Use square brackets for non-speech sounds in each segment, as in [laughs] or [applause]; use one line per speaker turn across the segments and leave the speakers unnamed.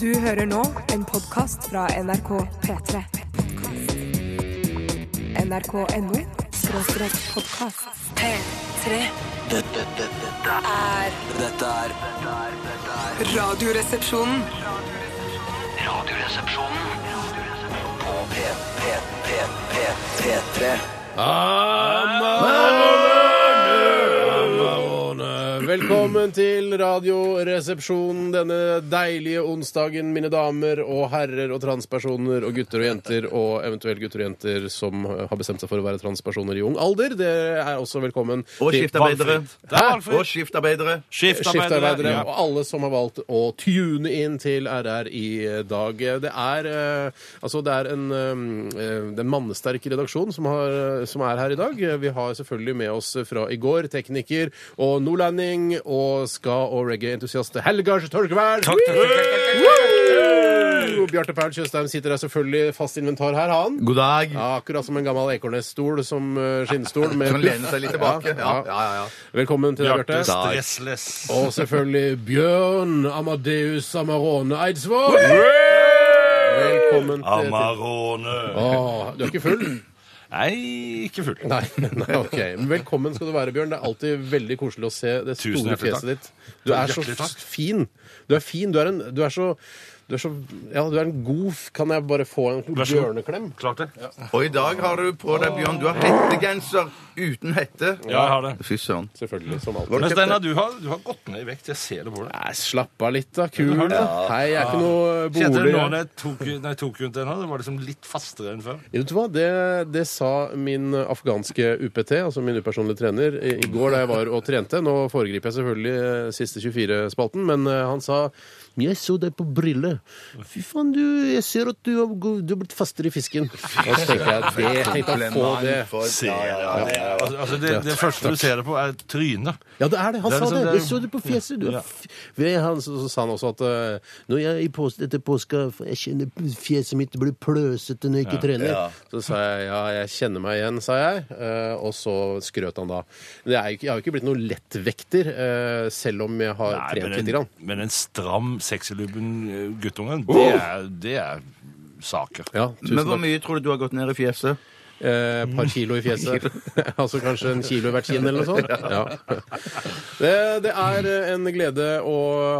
Du hører nå en podkast fra NRK P3. NRK.no skråstrek podkast. P3.
Dette, dette, dette,
er
dette er dette er- dette er
Radioresepsjonen.
Radioresepsjonen på P, P, P, P, P3.
Velkommen til Radioresepsjonen denne deilige onsdagen, mine damer og herrer og transpersoner og gutter og jenter og eventuelt gutter og jenter som har bestemt seg for å være transpersoner i ung alder. Dere er også velkommen.
Og
til-
skiftarbeidere.
Hæ?
Og skiftarbeidere.
Skiftarbeidere og alle som har valgt å tune inn til RR i dag. Det er, eh, altså det er en, eh, det er en mannesterk redaksjon som, har, som er her i dag. Vi har selvfølgelig med oss fra i går tekniker og nordlending og ska- og reggae-entusiast Helgar Torgvær. Woo! Bjarte Paul Tjøstheim sitter der selvfølgelig fast inventar her, han.
God dag.
Ja, akkurat som en gammel ekornesstol som eh,
[laughs]
skinnstol. med-
Kan lene seg litt tilbake. Ja,
Ja,
ja, ja.
Velkommen til deg, Bjarte.
Dag.
Og selvfølgelig Bjørn Amadeus Amarone Eidsvåg. Velkommen til
Amarone.
Åh, Du er ikke full?
Nei, ikke fullt.
Nei, nei, ok. Men velkommen skal du være, Bjørn. Det er alltid veldig koselig å se det
Tusen
store
hjertelig
fjeset
takk.
ditt. Du er så
Hjertelig takk.
fin. Du er fin. Du er en Du er så du er så Ja, du er en god f- Kan jeg bare få en
Vær så god.
bjørneklem?
Klart det? Ja,
Og i dag har du på deg, Bjørn, du har hettegenser uten hette.
jeg har det.
Fy søren.
Selvfølgelig. Som alltid.
Var
Men
det kjøpt
Steinar,
det?
du har, du har gått ned i vekt. Jeg ser det på deg.
Nei, slapp av litt, da. Kul. da. Hei, jeg er ikke noe
Kjente du nå
bolig.
når jeg tok, når jeg tok rundt den her? Det var liksom litt fastere enn før.
Vet du hva, det, det sa min afghanske UPT, altså min upersonlige trener, i, i går da jeg var og trente. Nå foregriper jeg selvfølgelig eh, siste 24-spalten, men eh, han sa jeg så deg på brille. Fy faen, du, jeg ser at du har, gå- du har blitt fastere i fisken. Og så tenker jeg det, tenk deg å få det.
For-
Ja, ja, ja. Det, er- altså, altså, det, det første du ser det på, er trynet.
Ja, det er det. Han
Det er
sa
liksom-
det.
det er-
Jeg så det på fjeset. Du. er
Ja.
f- Ved Han, så, så sa han også at eh, når jeg i pås etter påska jeg kjenner fjeset mitt blir pløsete når jeg ikke trener. Så sa jeg ja, jeg kjenner meg igjen, sa jeg. eh, og så skrøt han da. Men jeg, er jo ikke, jeg har jo ikke blitt noen lettvekter, eh, selv om jeg har
Nei,
trent litt.
men, en,
Grann.
men en stram, sexylubben eh, guttungen, det er, det er saker.
Ja, tusen
Men hvor
takk.
mye tror du du har gått ned i fjeset?
Eh, par kilo i fjeset. [laughs] altså kanskje en kilo i hvert kinn eller noe sånt. Ja. Det, det er eh, en glede å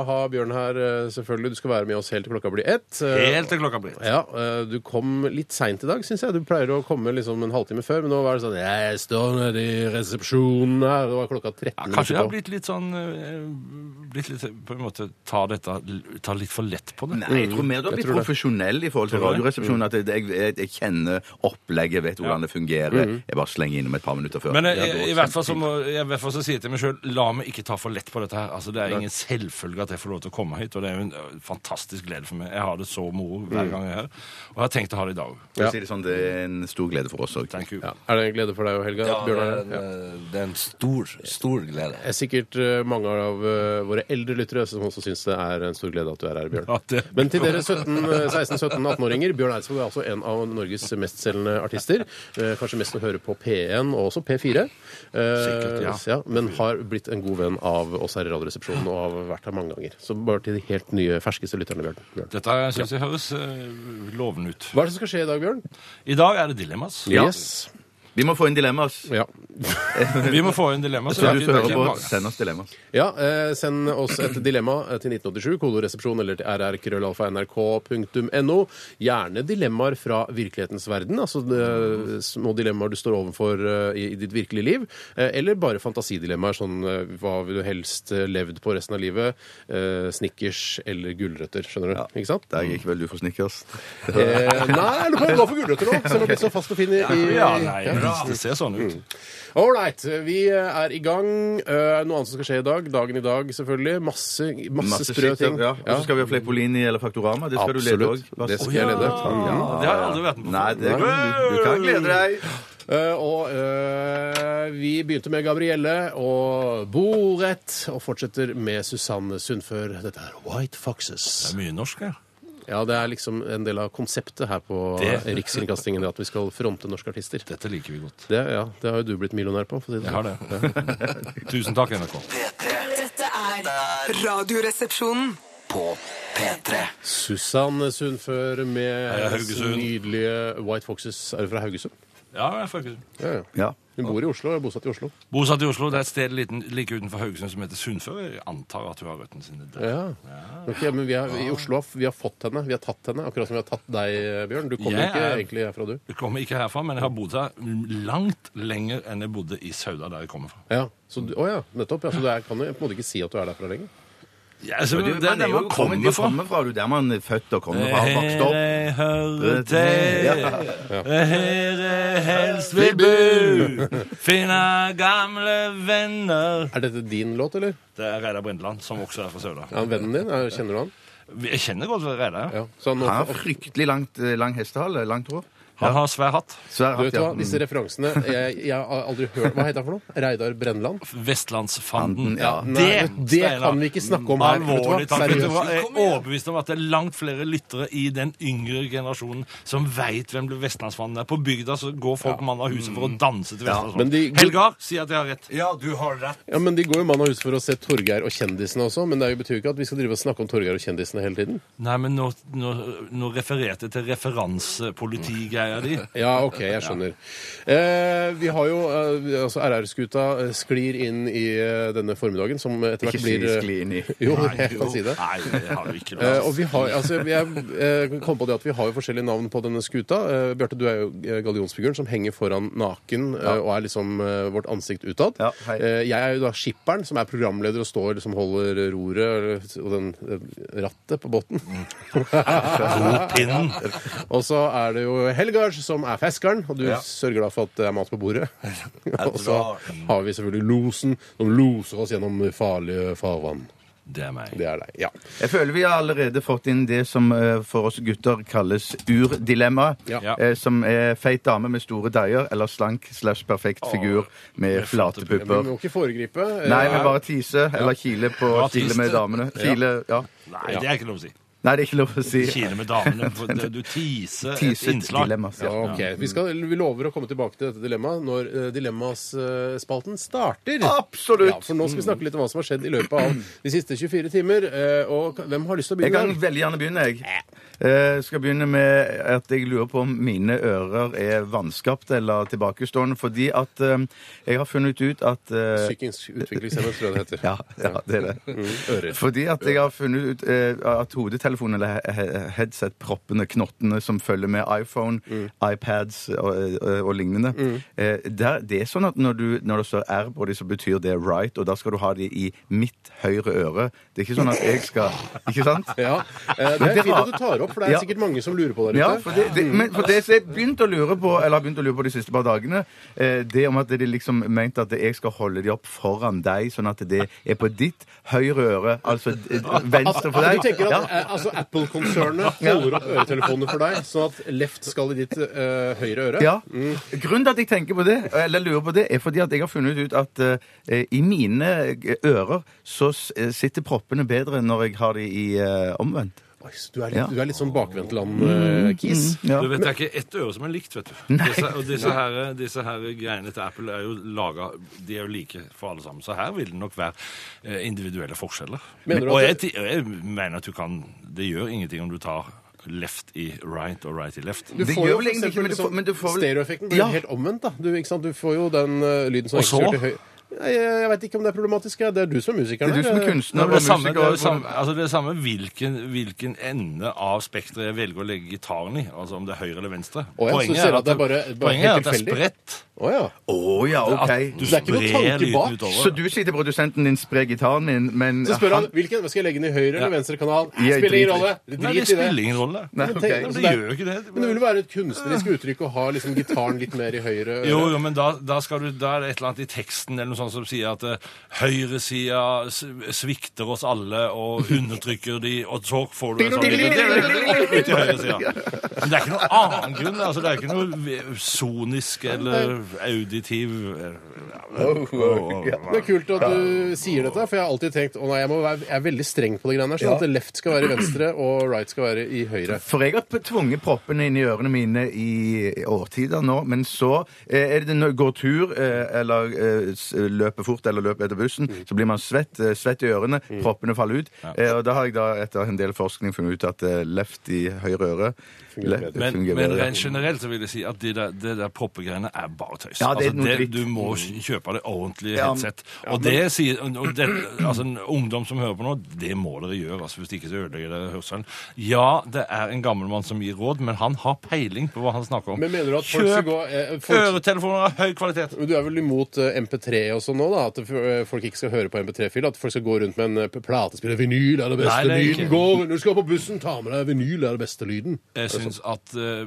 ha Bjørn her, eh, selvfølgelig. Du skal være med oss helt til klokka blir ett. Eh,
Helt til klokka blir ett.
Ja, eh, Du kom litt seint i dag, syns jeg. Du pleier å komme liksom en halvtime før. Men nå var det sånn Jeg står nede i resepsjonen her. Det var klokka 13.
Ja, kanskje jeg
minutter
har
på.
blitt litt sånn eh, blitt litt, På en måte ta dette ta litt for lett på det.
Nei, jeg tror mer du har blitt
tror det.
profesjonell i forhold til
Tror du det?
Radioresepsjonen. At jeg, jeg, jeg kjenner opplegget, vet hvordan det fungerer. Jeg bare slenger innom et par minutter før.
Mhm. Men
Ja,
jeg,
du har
i, hvert fall så
kjempefint.
må, jeg, i hvert fall så sier jeg til meg sjøl la meg ikke ta for lett på dette her. Altså, det er ingen selvfølge at jeg får lov til å komme hit, og det er jo en ø, fantastisk glede for meg. Jeg har det så moro hver gang jeg er her, og jeg har tenkt å ha det i dag.
For å si det sånn, det er en stor glede for oss òg.
Thank you.
Ja. Er det en glede for deg og Helga? at Bjørn er her? Ja.
det er en stor, stor glede.
Det er sikkert eh, mange av eh, våre eldre lyttere som også syns det er en stor glede at du er her, Bjørn.
Ja, det-
Men til dere eh, 16-17-18-åringer Bjørn Eidsvåg er altså en av Norges mestselgende artister. Eh, Kanskje mest å høre på P1 og også P4. Sikkert,
Sikkert, ja.
Men har blitt en god venn av oss her i Radioresepsjonen og har vært her mange ganger. Så bare til de helt nye, ferskeste lytterne, Bjørn. Bjørn.
Dette syns jeg høres ø, lovende ut.
Hva er det som skal skje i dag, Bjørn?
I dag er det dilemmas.
Yes.
Vi må få inn dilemmas.
Ja.
Vi må få inn dilemmas.
Så
det er
du
ikke-
som
det er
hører
ikke
på,
mange.
send oss dilemmas.
ja eh, send oss et dilemma eh, til 1987, kodoresepsjon eller til rrkrøllalfa.nrk.no. Gjerne dilemmaer fra virkelighetens verden, altså det, små dilemmaer du står overfor eh, i, i ditt virkelige liv. eh, Eller bare fantasidilemmaer, sånn eh, hva vil du helst eh, levd på resten av livet? Eh, Snickers eller gulrøtter, skjønner du? Ikke sant?
[laughs]
Der gikk vel du for snickers.
Eh, nei, jeg lurer på om jeg går for gulrøtter nå, selv om jeg blir så fast og fin i, i
Ja, nei, det ser sånn ut.
Ålreit, vi er i gang. Eh, Noe annet som skal skje i dag. Dagen i dag, selvfølgelig. Masse, masse,
Masse
sprø
skitt,
ting.
ja. Og så skal vi ha Fleipolini eller Faktorama. Det skal du lede
Absolutt.
òg.
Det skal jeg lede. Ja.
Det har jeg aldri vært med på.
Nei, det, du, du kan glede deg.
Eh, og eh, vi begynte med Gabrielle og Borett, og fortsetter med Susanne Sundfør. Dette er White
Det
Foxes.
er mye norsk her.
Ja, det er liksom en del av konseptet her på
Det.
Rikskringkastingen, at vi skal fronte norske artister.
Dette liker vi godt.
Det, ja, det
[laughs]
sånn. har jo du blitt millionær på. For å si det.
Jeg har det. Tusen takk, NRK.
Dette er
Radioresepsjonen.
På P3
Susann Sundfør
Hei,
med
Haugesund.
nydelige White Foxes. Er du fra Haugesund?
Ja, jeg får ikke
Ja, ja.
Ja.
Hun bor i Oslo, er bosatt i Oslo.
Bosatt i Oslo. Det er et sted liten, like utenfor Haugesund som heter Sundfør. Jeg antar at hun har røttene sine der.
Ja. Ok, men vi har, i Oslo har vi har fått henne, vi har tatt henne, akkurat som vi har tatt deg, Bjørn. Du kommer jo
Jeg
ikke
er-
egentlig herfra, du.
Jeg kommer ikke herfra, men jeg har bodd her langt lenger enn jeg bodde i Sauda, der jeg kommer fra.
Ja, så, du- å ja, nettopp. Ja, så du er, kan jo på en måte ikke si at du er derfra lenger.
Ja, altså,
Men
det, er der man
hvor
kommer fra.
kommer fra. Du, der man er født og kommer fra, har vokst opp.
Jeg hører
Ja.
til, her jeg helst vil [laughs] bo, finne gamle venner.
Er dette din låt, eller?
Det er Reidar Brindeland, som også er fra Sauda.
Er han vennen din? Er, kjenner du han?
Jeg kjenner godt Reidar.
Ja. Så nå,
Han har fryktelig langt, eh, lang hestehale. Langt hår.
Han har svær hatt.
Svær
du vet hva,
hatt,
disse
ja.
referansene jeg, jeg har aldri hørt Hva heter han for noe? Reidar Brennland?
Vestlandsfanden.
Ja.
Nei, det
Steinar.
kan vi ikke snakke om her, vet du hva?
Alvorlig talt.
Seriøst.
Vet du hva? Jeg er overbevist om at det er langt flere lyttere i den yngre generasjonen som veit hvem Vestlandsfanden er. På bygda så går folk mann av huset for å danse til
Mm. men
Vestlandsfanden.
de-
Helgar sier at jeg har rett.
Ja, du har rett.
Ja, men De går jo mann av hus for å se Torgeir og kjendisene også, men det betyr jo ikke at vi skal drive og snakke om Torgeir og kjendisene hele tiden.
Nei, men nå, nå, nå refererte jeg til referansepolitigreia di.
Ja, OK, jeg skjønner. Eh, vi har jo eh, altså RR-skuta eh, sklir inn i eh, denne formiddagen, som etter hvert
Ikke si
blir eh,
skli inn i.
[laughs] Jo, [laughs] jeg kan si det.
Nei, det har du ikke.
Eh, og vi har, altså, jeg eh, kom på det at vi har jo forskjellige navn på denne skuta. Eh, Bjarte, du er jo eh, gallionsfiguren som henger foran naken eh, og er liksom eh, vårt ansikt utad.
Ja, hei.
Eh, jeg er jo da skipperen, som er programleder og står liksom holder roret eller- og den eh, rattet på båten.
Mm.
Pinnen.
[laughs] og så er det jo Helgars, som er feskeren, og du sørger da for at det er mat på
[laughs]
bordet. og så har vi selvfølgelig losen, som loser oss gjennom farlige farvann.
Det er meg.
Det er deg. Ja.
Jeg føler vi har allerede fått inn det som eh, for oss gutter kalles urdilemma.
Ja.
Eh, Som er feit dame med store deier eller slank slash perfekt figur med flate
Ja, men vi
pupper.
må ikke foregripe. eh,
Nei, men bare tise eller kile på
Bare
kile med
tise.
damene. Kile, ja.
Nei, det er ikke lov å si.
Nei, det er ikke lov å si.
Kile med
[laughs]
damene. for det- Du teaser et
Tise
innslag.
dilemmas. Ja.
Ja, ok. Vi, skal, vi lover å komme tilbake til dette dilemmaet når uh, Dilemmaspalten starter.
Absolutt.
Ja, for nå skal vi snakke litt om hva som har skjedd i løpet av de siste 24 timer. eh, og k- hvem har lyst til å
Jeg
begynne?
kan veldig gjerne begynne, jeg. Eh, skal begynne med at jeg lurer på om mine ører er vanskapte eller tilbakestående, fordi at eh, jeg har funnet ut at eh,
Psykisk utviklingshemmet, tror jeg det heter.
ja, ja, det er det.
Ører.
Fordi at jeg har funnet ut eh, at hodetelefonen eller he- he- headset-proppene, knottene som følger med iPhone, iPads og, og, og lignende eh, der, Det er sånn at når, du, når det står R på dem, så betyr det right, og da skal du ha de i mitt høyre øre. Det er ikke sånn at jeg skal Ikke sant?
Ja, eh, Det
Men
er
det
fint
var-
at du tar opp, for det er
Ja.
sikkert mange som lurer på der
Ja,
ute.
for det, det, men for det som jeg begynte å lure på Eller har begynt å lure på de siste par dagene, eh, det om at de liksom mente at jeg skal holde de opp foran deg, sånn at det er på ditt høyre øre, altså
[laughs]
eh, venstre for
Ja,
deg.
Du tenker
Ja.
at eh, altså,
[laughs]
Apple-konsernet holder opp øretelefonene for deg, sånn at left skal i ditt eh, høyre øre?
Ja. Grunnen til at jeg tenker på det, eller lurer på det, er fordi at jeg har funnet ut at eh, i mine eh, ører så s- eh, sitter proppene bedre når jeg har de i eh, omvendt.
Oi, så du er
Ja.
litt, du er litt sånn eh, bakvendtland-kis.
Mm, Ja.
Du vet, Det er ikke ett øre som er likt, vet du. Disse, og disse her, disse her greiene til Apple er jo laga De er jo like for alle sammen. Så her vil det nok være eh, individuelle forskjeller.
Mener du
og jeg,
at
ti- og jeg mener at du kan Det gjør ingenting om du tar left i right og right i left.
Du
Det
får
gjør
jo
vel
for
egentlig
eksempel
ikke, men du
liksom
får- men du får vel-
Stereoeffekten blir
Ja.
jo helt omvendt, da. Du, ikke sant? du får jo den eh, lyden som
Og så?
ikke til høy... Nei, Jeg, jeg veit ikke om det er problematisk. jeg. Det er du som er musikeren.
Det er du som er
her.
Nei,
kunstner
men det,
og
er samme, det, er
musiker.
det samme, altså det er samme hvilken, hvilken ende av spekteret jeg velger å legge gitaren i. Altså om det er høyre eller venstre.
Å ja, så du ser at det er bare- bare
poenget
helt
er at det er
tilfeldig?
spredt.
Å ja.
Å ja, OK.
At du
Så det er ikke noe
sprer
tanke
lyden
bak?
utover.
Så du sier til produsenten din spre gitaren min, men
Så spør han hvilken skal jeg legge den i høyre eller venstre kanal. Nei,
Jeg
spiller ingen rolle.
driter
Nei, det
Drit i det.
spiller ingen rolle.
Nei, ok.
Nei, men det gjør jo ikke det.
Men det vil være et kunstnerisk uttrykk å ha liksom gitaren litt mer i høyre øre.
Jo, jo, men da, da, skal du, da er det et eller annet i teksten eller noe sånt som sier at eh, høyresida s- svikter oss alle og undertrykker de, og så får du en sånn liten- ut i høyresida. Men det er ikke noen annen grunn. altså Det er ikke noe ve- sonisk eller auditiv eh,
Det er kult at du sier dette, for jeg har alltid tenkt å nei, jeg, må være, jeg er veldig streng på det greiene her. Sånn at left skal være i venstre, og right skal være i høyre.
For jeg har p- tvunget proppene inn i ørene mine i årtider nå, men så eh, er det når jeg går tur eh, eller eh, s- løper fort eller løper etter bussen,
Mm.
så blir man svett, eh, svett i ørene, proppene faller ut. Eh, og da har jeg da etter en del forskning funnet ut at eh, left i høyre øre le-
Men,
fungerer
men
bedre.
rent generelt så vil jeg si at det der, det der proppegreiene er bare tøys.
Ja, det er
altså,
noe dritt. Mm.
du må kj- kjøpe det ordentlig
Ja,
headset. Og det sier og det, altså, en Ungdom som hører på nå, det må dere gjøre. Altså, hvis ikke så ødelegger dere hørselen. Ja, det er en gammel mann som gir råd, men han har peiling på hva han snakker om.
Men mener du at folk skal
Kjøp
gå eh, folk,
øretelefoner av høy kvalitet!
Men Du er vel imot eh, MP3 og sånn nå, da? At eh, folk ikke skal høre på MP3-fil? At folk skal gå rundt med en eh, p- platespiller? Vinyl er det beste
Nei, det er ikke-
lyden! Gå når du skal på bussen, ta med deg vinyl er det beste lyden!
Jeg syns at eh,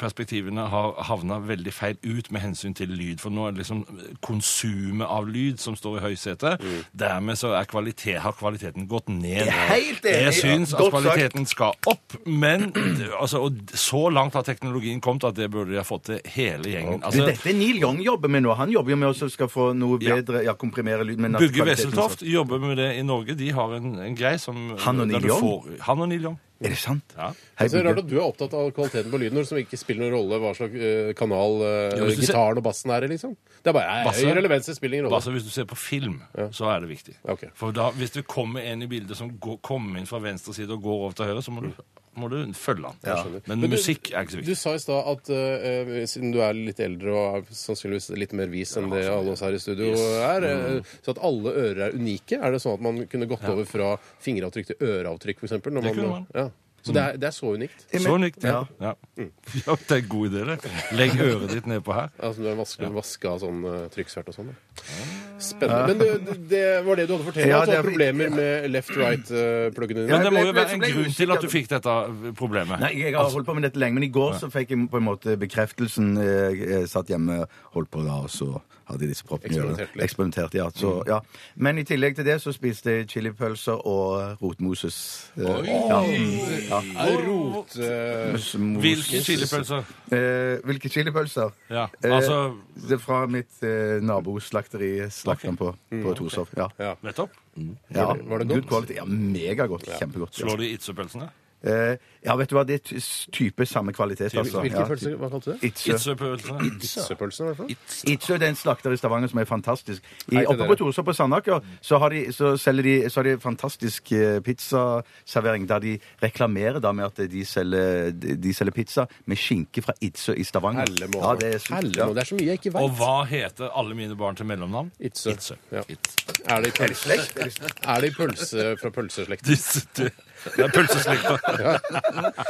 perspektivene har havna veldig feil ut med hensyn til lyd. For nå er det liksom konsumet av lyd som står i høysetet. Dermed så er kvalitet, har kvaliteten gått ned.
Mm. er helt enig.
Jeg syns at
Godt sagt.
kvaliteten skal opp, men [clears throat] altså, og så langt har teknologien kommet at det burde de ha fått til hele gjengen.
du,
Altså,
dette er Neil Young jobber med nå. Han jobber jo med å skal få noe
Ja.
bedre, ja, komprimere lyd. men at
Bugge
kvaliteten skal-
Wesseltoft jobber med det i Norge. De har en, en grei som
Han og
der
Neil
du
Young?
får- Han og Neil Young.
Er det sant?
Ja.
Så
Hei,
Altså, det er
Bugge.
rart at du er opptatt av kvaliteten på lyden når det som ikke spiller noen rolle hva slags eh, kanal eh,
Ja, hvis du ser-
gitaren og bassen er i, liksom. Det er bare eh,
Basse?
høyre eller venstre spiller ingen rolle.
Altså Hvis du ser på film, så er det viktig.
Ok.
For da, Hvis det kommer en i bildet som går, kommer inn fra venstre side og går over til høyre, så må du, må du følge han.
Men
Men,
du-
musikk er ikke så
Du
viktig.
sa i stad at eh, siden du er litt eldre og er sannsynligvis litt mer vis enn det alle oss her i studio er, eh,
Mm.
så at alle ører er unike. Er det sånn at man kunne gått over fra fingeravtrykk til øreavtrykk, f.eks.? Det
Det kunne man.
Ja. Så det
Mm.
er, det er så unikt.
Så nykt, ja.
Ja.
Ja. [laughs] ja. Det er en god idé, det. Legg øret ditt nedpå her.
Altså, du er vaske, vaska av sånn eh, trykksvert og sånn. da. Spennende. Men det, det var det du hadde fortalt. altså,
Ah. Ja,
at du har
det er-
problemer med left-right-pluggene dine.
Men det må
ble-
jo
ble-
være en
ble jeg
grunn til at du
usikker.
fikk dette eh, problemet.
Nei, jeg har holdt på med dette lenge, men i går så fikk jeg på en måte bekreftelsen. eh, Jeg satt hjemme, holdt på da, og så hadde jeg disse proppene. i ørene.
Eksperimenterte litt.
Eksperimenterte, ja, så, ja. Men i tillegg til det så spiste jeg chilipølser og rotmoses. eh, Ja. ja.
Er Rot... eh,
Mos-
Hvilke chilipølser?
Eh, hvilke chilipølser?
Ja,
Eh,
altså-
det er fra mitt eh, naboslakteri, slakteren på, på Torshov. Ja.
Ja.
Nettopp.
Ja.
Var det- var det
Good
godt?
quality. Ja, megagodt. Kjempegodt. Ja.
Slår de itzøpølsene?
Eh, ja, vet du hva, det er ty- type samme kvalitet, altså.
Hvilke
Ja,
pølser? Hva kalte du det?
Itzø.
Itzøpølsene?
Pølsene, i hvert fall.
Itzø det er en slakter i Stavanger som er fantastisk. I,
Hei til
oppe
dere.
på Torshov på Sandaker så, har de, så selger de så har de fantastisk eh, pizzaservering der de reklamerer da med at eh, de selger, de selger pizza med skinke fra Itzø i Stavanger.
Hellemål.
Ja, det er sykt.
Hellemål.
Ja.
Det er så mye jeg ikke
Og
vet.
hva heter alle mine barn til mellomnavn?
Itzø.
Itzø.
Ja. Er det i pølse? Er det i pølse fra pølseslekt?
Disse- Det [laughs] det er pølseslekta.
Det er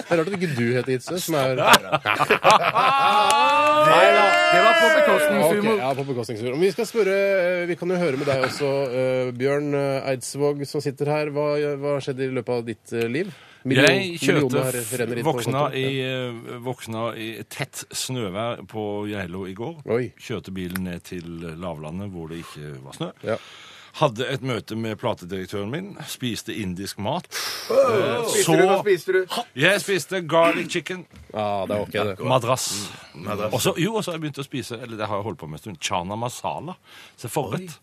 rart at ikke du heter Itze, som er [laughs]
Det var på
Ah! Ok,
bekostningshumor.
ja, på bekostningshumor. Men Vi skal spørre, eh, vi kan jo høre med deg også, eh, Bjørn eh, Eidsvåg som sitter her. Hva, hva skjedde i løpet av ditt eh, liv?
Jeg kjørte
millioner renner inn på
våkna
kontoen.
i, eh, våkna i tett snøvær på Geilo i går.
Oi.
Kjørte bilen ned til lavlandet hvor det ikke var snø.
Ja.
Hadde et møte med platedirektøren min. Spiste indisk mat. Eh,
Spiste du, hva spiste du?
Jeg spiste garlic chicken.
Ja, det er ok, det.
Madrass.
Mm,
Og så- jo, og så har jeg begynt å spise eller det har jeg holdt på med en stund, chana masala. Så forrett.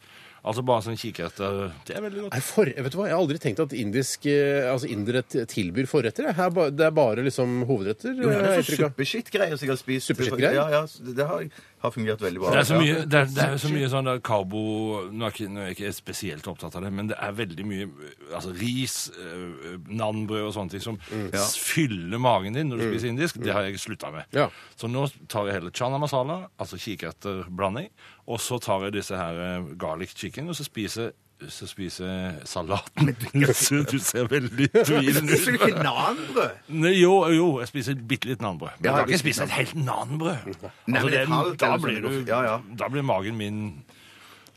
Altså bare sånn kikerter. Det er veldig godt.
Nei, for, vet du hva? Jeg har aldri tenkt at indisk, eh, altså indere t- tilbyr forretter. jeg. Her, ba- det er bare liksom hovedretter.
Jo, det
eh,
er
jeg inntrykk av.
Suppeskittgreier som jeg har spist.
Suppeskittgreier?
Ja, ja, det har, har fungert veldig bra.
Det er så
Ja.
mye, det er, det er så mye sånn der karbo nå er, ikke, nå er jeg ikke spesielt opptatt av det, men det er veldig mye altså ris, øh, nanbrød og sånne ting som
Mm.
s- fyller magen din når du spiser indisk. Det har jeg slutta med.
Ja.
Så nå tar jeg heller chana masala, altså kikerterblanding, og så tar jeg disse her øh, garlic chicken, og så spiser så spiser jeg salaten. [laughs] Du ser, du
[laughs]
ser veldig tvilende
Spiser du
ut.
ikke nanbrød?
Nei, Jo, jo, jeg spiser bitte litt nanbrød. Men
Ja,
jeg kan
det-
ikke spise et helt nanbrød.
Nei,
Altså,
men et
det-
halvt
da,
eller
blir
sånn.
du,
Ja, ja.
da blir magen min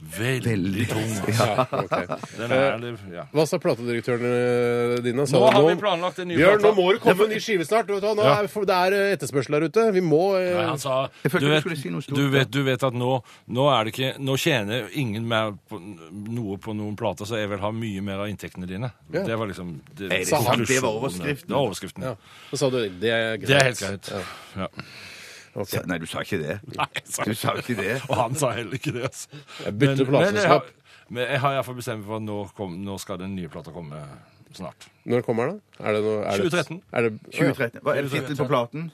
veldig, tung. altså.
Ja, ok.
Den
Eh,
er, litt- ja.
Hva sa platedirektørene dine? Sa
Nå
de
har vi planlagt en ny
Bjørn, nå
plate.
må det komme en ny skive snart. Vet du. hva, Nå
Ja.
er, for det er eh, etterspørsel der ute. Vi må eh,
Nei, han sa
Jeg følte
du
du
vet,
skulle si noe stort,
du,
ja.
vet, du vet at nå, nå er det ikke Nå tjener ingen mer på, noe på noen plater, så jeg vil ha mye mer av inntektene dine.
Ja.
Det var liksom det,
Er det
konklusjonen.
sant? Det var overskriften.
Det var overskriften.
ja. Så sa du det er greit.
Det er helt greit. Ja.
Ok.
Sa- Nei, du sa ikke det.
Nei, jeg sa
Du sa ikke det.
Og han sa heller ikke det. Altså.
Jeg bytter
Men- men jeg har-
plateselskap.
Men jeg har iallfall bestemt meg for at nå, kom, nå skal den nye plata komme snart.
Når kommer den, da? Er det noe, er det-
2013.
Er det, å, ja.
2013. Hva er det tittelen på platen?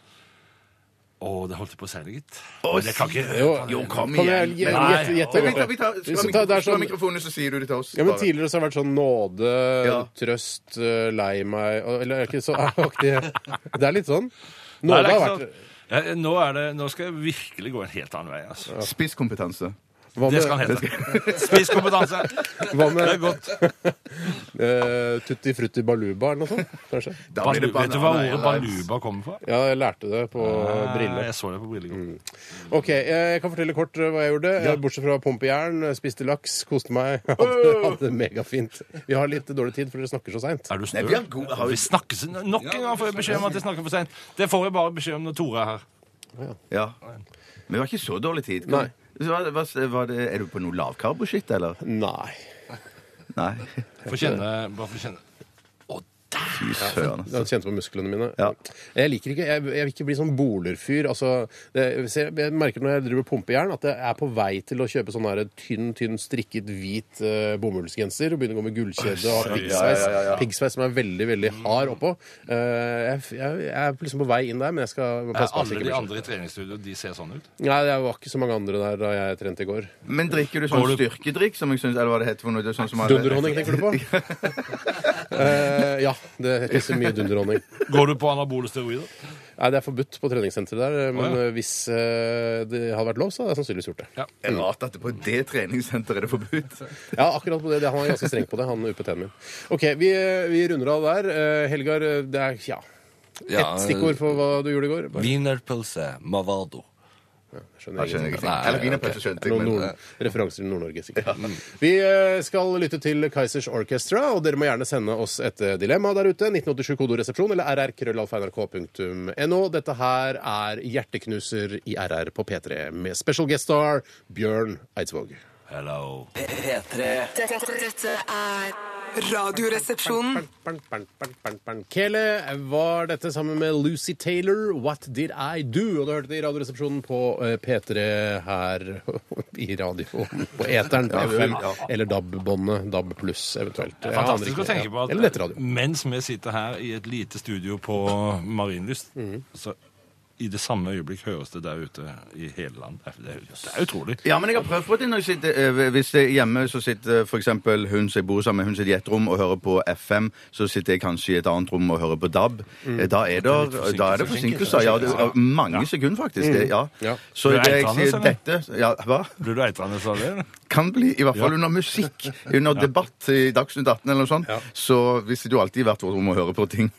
Å, det holdt jeg på å si det, gitt.
Å,
Men jeg kan ikke
Jo,
Jo, kom
Kan jeg
igjen.
gje-
Nei.
gjette- gjette?
Vi tar, vi tar,
Vi skal
slå,
ta- det er
mikro, slå
sånn-
mikrofonen, så sier du det til oss.
Ja, men
bare.
Tidligere så har det vært sånn nåde,
Ja.
trøst, eh, lei meg og- Eller er det ikke
[laughs]
så aktig? Det er litt sånn.
Nei,
Nåde
det
har
er ikke sånn.
vært
sant. Ja, nå, er det, nå skal jeg virkelig gå en helt annen vei. Altså.
Spisskompetanse.
Hva
Det skal
med,
han hete. [laughs] Spisskompetanse.
hva
Det er
med
godt.
eh, tutti frutti baluba eller noe sånt? Kanskje?
Da blir det
Vet du hva
Banana
ordet
Airlines.
baluba kommer fra?
Ja, jeg lærte det på
Nei,
briller. Mm.
Jeg så det på briller.
Ok, eh, Jeg kan fortelle kort eh, hva jeg gjorde. Eh, Bortsett fra å pumpe jern, eh, spiste laks, koste meg. [laughs] Hadde, hadde det megafint. Vi har litt dårlig tid, for dere snakker så seint.
Er du
Nei,
snø?
vi er gode- har vi-
Vi snakkes nok en gang får jeg beskjed om at jeg snakker for seint. Det får jeg bare beskjed om når Tore er her.
Ja. Men det var ikke så dårlig tid.
Nei.
Så Var, var, var det, er du på noe lavkarboskitt, eller?
Nei.
Nei. [laughs]
Få kjenne. Bare få kjenne.
Fy søren. altså.
Jeg kjente på musklene mine.
Ja.
Jeg liker ikke, jeg, jeg vil ikke bli sånn bolerfyr. Altså, det, hvis jeg, jeg merker når jeg driver og pumper jern, at jeg er på vei til å kjøpe sånn her tynn, tynn strikket hvit eh, bomullsgenser og begynne å gå med gullkjede og ha piggsveis. Piggsveis som er veldig, veldig hard oppå. Eh, jeg, jeg, jeg er liksom på vei inn der, men jeg skal
Er
passe på. at jeg
alle
ikke
de
blir sånn.
andre i treningsstudio de ser sånn ut?
Nei, det var ikke så mange andre der da jeg trente i går.
Men drikker du sånn
Går du-
styrkedrikk, som jeg syns Eller hva det heter for noe? Det er sånn som alle-
Dunderhonning tenker du på?
[laughs]
Eh, ja, det heter så mye dunderhonning.
Går du på anabole steroider?
Nei, det er forbudt på treningssenteret der, men
Å, ja.
eh, hvis eh, det hadde vært lov, så hadde jeg sannsynligvis gjort det.
Det er Rart at det på det treningssenteret er det forbudt.
Ja, akkurat på det. det han er ganske streng på det, han UPT-en min. OK, vi, vi runder av der. Eh, Helgar, eh, det er ja,
Ja,
ett stikkord for hva du gjorde i går. Bare,
Wienerpølse Mavado.
skjønner
Jeg
ingenting.
skjønner ikke.
Nei,
Eller
ok.
wienerpølse skjønte jeg,
Noen
men eh.
nord referanser til Nord-Norge, sikkert. Vi eh, skal lytte til Kaizers Orchestra, og dere må gjerne sende oss et eh, dilemma der ute. 1987 kodoresepsjon eller rrkrøllalfa.nrk.no. Dette her er Hjerteknuser i RR på P3 med special guest star Bjørn Eidsvåg.
Hello.
P3
Dette, dette er Radioresepsjonen.
Bang, bang, bang, bang, bang. Kele var dette sammen med Lucy Taylor, What Did I Do? Og du hørte det i Radioresepsjonen på eh, P3 her [laughs] i radioen, på eteren på FM, eller DAB-båndet, DAB pluss eventuelt. Jeg aner
Fantastisk
ikke.
å tenke på
Ja.
at
Eller nettradio.
mens vi sitter her i et lite studio på Marienlyst, så i det samme øyeblikk høres det der ute i hele land. Det er- Det er, det er utrolig.
Ja, men jeg har prøvd på det når jeg sitter eh, Hvis jeg er hjemme, så sitter eh, for eksempel hun som jeg bor sammen med, hun sitter i et rom og hører på FM, så sitter jeg kanskje i et annet rom og hører på DAB.
Mm.
Eh, Da er det, da er det forsinkelser. Ja,
altså.
det er mange sekunder, faktisk. Det,
Ja.
ja. Så
Mm. Du er
det jeg
eitrende,
sier
eller?
dette ja, Hva?
Blir du eitrende av det? eller?
Kan bli, i hvert fall under musikk, under debatt i Dagsnytt 18 eller noe sånt,
Ja.
så hvis du alltid i hvert vårt rom og hører på ting.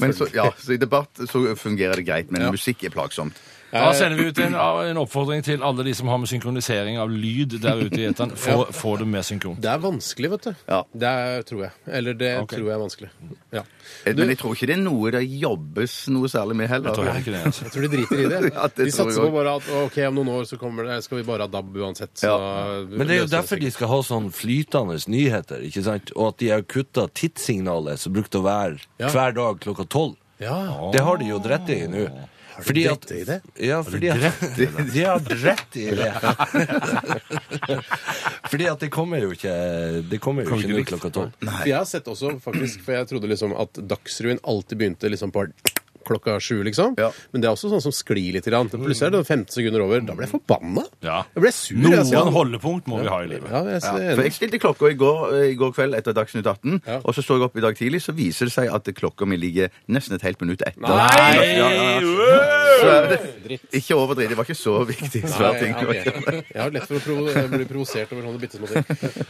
Men så, ja, så i debatt så fungerer det greit, men musikk er plagsomt.
Da sender vi ut en, en oppfordring til alle de som har med synkronisering av lyd der ute i eteren. Få, få det med synkron.
Det er vanskelig, vet du.
Ja.
Det er, tror jeg. Eller det
Ok.
tror jeg er vanskelig. Ja.
Eh, Men jeg tror ikke det er noe det jobbes noe særlig med heller.
Jeg tror heller ikke det. Altså.
Jeg tror de driter i det.
Ja, det
de
tror jeg
satser på
også.
bare at ok, om noen år så kommer det, skal vi bare ha DAB uansett. Så
Men det er jo derfor de skal ha sånn flytende nyheter, ikke sant? Og at de har kutta tidssignalet som brukte å være
Ja.
hver dag klokka tolv.
Ja.
Det har de jo drett i nå. Har
drett i det?
Ja, fordi at, [laughs] de har drett i det. [laughs] fordi at det kommer jo ikke Det kommer jo
Kommer
ikke
ikke
nå
likt.
klokka tolv.
For Jeg har sett også, faktisk, for jeg trodde liksom at Dagsrevyen alltid begynte liksom på klokka sju, liksom.
Ja.
Men det er også sånn som sklir litt. grann. Plutselig er det 15 sekunder over. Da ble jeg forbanna.
Ja.
Jeg ble sur. altså.
Noen holdepunkt må vi ha i livet.
Ja, jeg ser
For
enig.
jeg stilte klokka i går, eh, i går kveld etter Dagsnytt 18,
Ja.
og så så jeg opp i dag tidlig, så viser det seg at klokka mi ligger nesten et helt minutt etter.
Nei!
Ja, ja, ja.
øh!
Så er det,
Dritt.
ikke overdriv, det var ikke så viktig.
Nei,
Svære ting.
ja, ok. Jeg har lett for å provo bli provosert over sånne bitte små ting.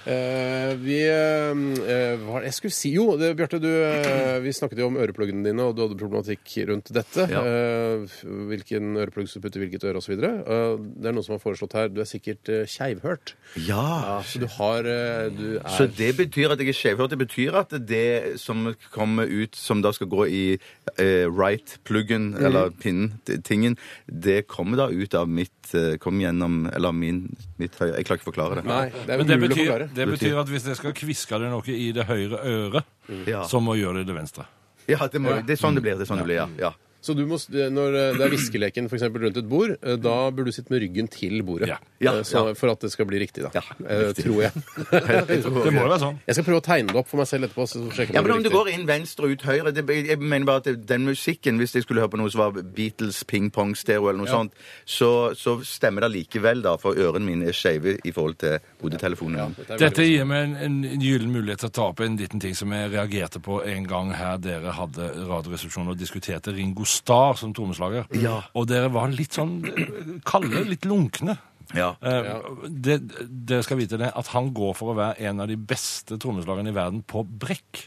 Eh, vi eh, eh, Hva var det jeg skulle si? Jo, det, Bjarte, du, eh, vi snakket jo om ørepluggene dine, og du hadde problematikk rundt dette.
Ja.
Eh, hvilken øreplugg som putter hvilket øre, osv. Uh, det er noen som har foreslått her. Du er sikkert uh, skeivhørt.
Ja.
Ja, så du har eh, Du er
Så det betyr at jeg er skjevhørt. Det betyr at det som kommer ut, som da skal gå i eh, right-pluggen,
Mm.
eller pinnen, t- tingen, det kommer da ut av mitt eh, Kommer gjennom Eller min, mitt høyre Jeg klarer ikke å forklare det.
Nei, det er
Men det
umulig å
betyr,
forklare.
det betyr at hvis dere skal kviske det noe i det høyre øret,
Ja.
Mm.
så må dere gjøre det i det venstre.
Ja, det, må, det er sånn det blir. Det er sånn det blir, ja. ja.
Så du må, s- når eh, det er viskeleken for eksempel, rundt et bord, eh, da burde du sitte med ryggen til bordet.
Ja.
Ja,
Eh, så,
ja.
For at det skal bli riktig, da.
Ja,
Eh,
riktig. [laughs]
tror jeg.
Det må jo være sånn.
Jeg skal prøve å tegne det opp for meg selv etterpå. Så sjekker
Ja,
jeg
men om
det
du
blir
går inn venstre og ut høyre det, Jeg mener bare at det- den musikken, hvis jeg skulle høre på noe som var Beatles, Ping Pong, Stereo eller noe sånt, så, så stemmer det likevel, da, for ørene mine er skeive i forhold til hodetelefonene.
riktig. Det er veldig
Dette gir meg en, en gyllen mulighet til å ta opp en liten ting som jeg reagerte på en gang her dere hadde Radioresepsjonen og diskuterte Ringo Starr som trommeslager. Og dere var litt sånn eh, kalde, litt lunkne.
Ja.
Eh, det, dere skal vite det, at han går for å være en av de beste trommeslagerne i verden på brekk.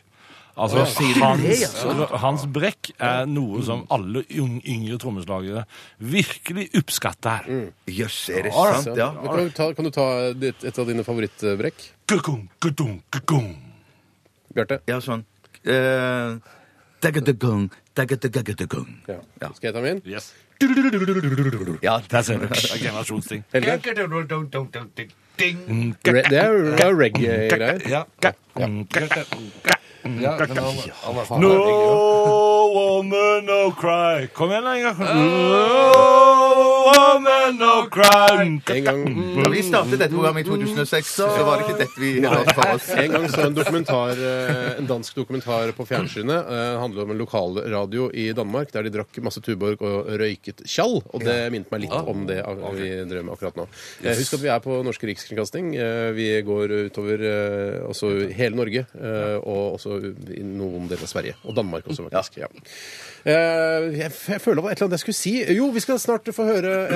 Altså, hans, altså, hans brekk er noe som alle yng- yngre trommeslagere virkelig oppskatter.
Jøss, er det
Ja,
sant?
Ja. Men
Ja.
Kan, du ta, kan du ta ditt, et av dine favorittbrekk,
Kukung, kukung, kukung.
Bjarte?
ja, sånn. Eh, dagadagung, dagadagung.
Ja. Skal jeg ta min?
Yes.
Ja,
Det er sånn, det er generasjonsting.
Helge? Re det er det er reggae-greier.
Ja.
Ja, men han- han er-
No woman, no cry. Kom igjen, da, Ingar. No woman, no cry.
En gang,
Da vi startet dette programmet i 2006, så var det ikke dette vi hadde for oss.
en gang så jeg en dokumentar, eh, en dansk dokumentar på fjernsynet. Det handler om en lokalradio i Danmark der de drakk masse Tuborg og røyket tjall. Og det minnet meg litt om det av- vi drev med akkurat nå. Eh, Husk at vi er på Norske Rikskringkasting. Eh, Vi går utover eh, også hele Norge, eh, og også i noen deler av Sverige. Og Danmark også, faktisk. Ja. Eh, Jeg f- jeg føler det var et eller annet jeg skulle si. Jo, vi skal snart få høre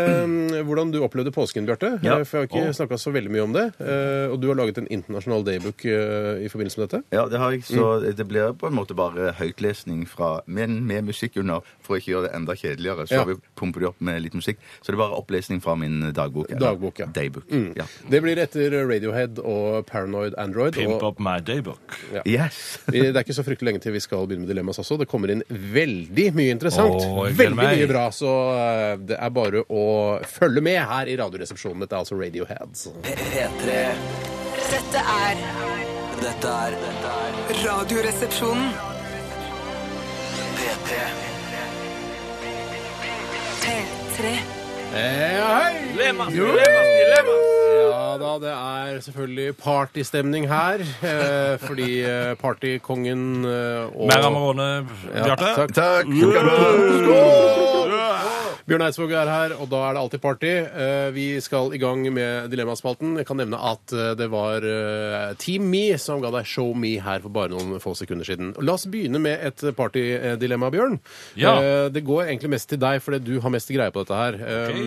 eh, hvordan du opplevde påsken, Bjarte.
Ja.
Eh, For jeg har ikke snakka så veldig mye om det. eh, Og du har laget en internasjonal daybook eh, i forbindelse med dette.
Ja, det har jeg, så
Mm.
det blir på en måte bare høytlesning fra Men med musikk under, for å ikke gjøre det enda kjedeligere. Så
Ja.
har vi pumpet det opp med litt musikk. Så det er bare opplesning fra min dagbok. eller
Dagbok, ja. Mm.
Daybook. Ja.
Det blir etter Radiohead og Paranoid Android.
Pimp
Og
up my daybook.
Yes!
vi- det er ikke så fryktelig lenge til vi skal begynne med Dilemmas også. Det kommer inn veldig mye interessant.
Åh, jeg
veldig
gleder meg.
mye bra, så eh, det er bare å følge med her i Radioresepsjonen. Dette er altså Radiohead.
P3.
Dette er
Dette er dette er
Radioresepsjonen.
P3.
P3.
Dilemmas, dilemmas, dilemmas.
Ja da, det er selvfølgelig partystemning her. eh, Fordi eh, partykongen eh, og
Mer Amarone,
Ja,
Bjarte.
takk.
Takk!
Bjørn Eidsvåg er her, og da er det alltid party. Eh, Vi skal i gang med Dilemmaspalten. Jeg kan nevne at eh, det var eh, Team Me som ga deg Show Me her for bare noen få sekunder siden. La oss begynne med et partydilemma, Bjørn.
Ja.
Eh, Det går egentlig mest til deg, fordi du har mest greie på dette her. Eh,
Ok.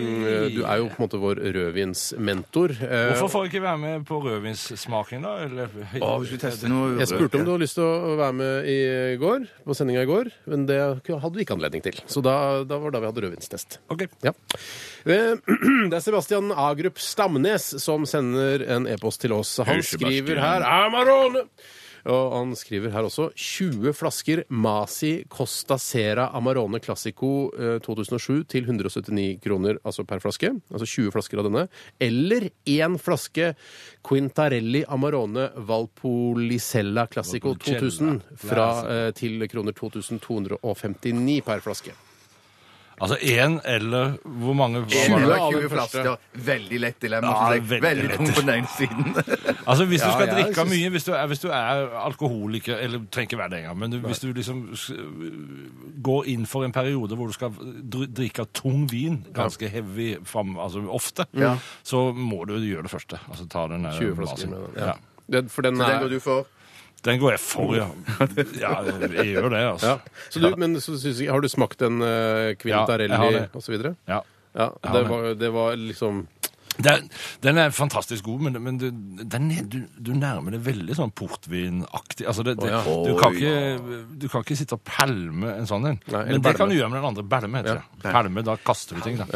Du er jo på en måte vår rødvinsmentor. Eh,
Hvorfor får jeg ikke være med på rødvinssmaking, da? Eller,
Å, vi skulle teste noe
Jeg spurte om du hadde lyst til å være med i går, på sendinga i går, men det hadde du ikke anledning til. Så da, da var da vi hadde rødvinstest.
Ok.
Ja. Eh, [clears throat] Det er Sebastian Agrup Stamnes som sender en e-post til oss. Han skriver her Amarone! Og han skriver her også 20 flasker Masi Costa Sera Amarone Classico eh, 2007 til 179 kroner altså per flaske. Altså 20 flasker av denne. Eller én flaske Quintarelli Amarone Valpolicella Classico 2000 fra, eh, til kroner 2259 per flaske.
Altså én eller hvor mange? Hva var
20
det?
av
av
den
20
første.
flasker. Veldig lett dilemma.
Ja,
synes jeg.
veldig
veldig
lett.
tung på den ene siden.
Altså Hvis du skal
ja, jeg
drikke
synes-
mye, hvis du, er, hvis du er alkoholiker Eller du trenger ikke være det engang, men du, hvis du liksom s- går inn for en periode hvor du skal dr- drikke tung vin, ganske heavy fram, altså ofte, så må du gjøre det første. Altså ta den der
20 flasker
basen.
med den.
Ja.
Det- For den
Den
er,
går du for.
Den går jeg
[laughs]
for, ja. ja jeg gjør det, altså.
Ja. Så du, men så syns jeg, har du smakt en uh,
Ja, jeg har
Quintarelli
det.
og så videre?
Ja.
Ja,
har
det
det.
var, det var liksom
Den, den er fantastisk god, men, men du, den er, du, du nærmer deg veldig sånn portvinaktig. Altså det, det,
Å, ja.
du, kan ikke, du kan ikke sitte og pælme en sånn en.
Nei, eller
men det
bælme.
kan du gjøre med den andre. Bælme, heter det. Pælme, da kaster du ting, da.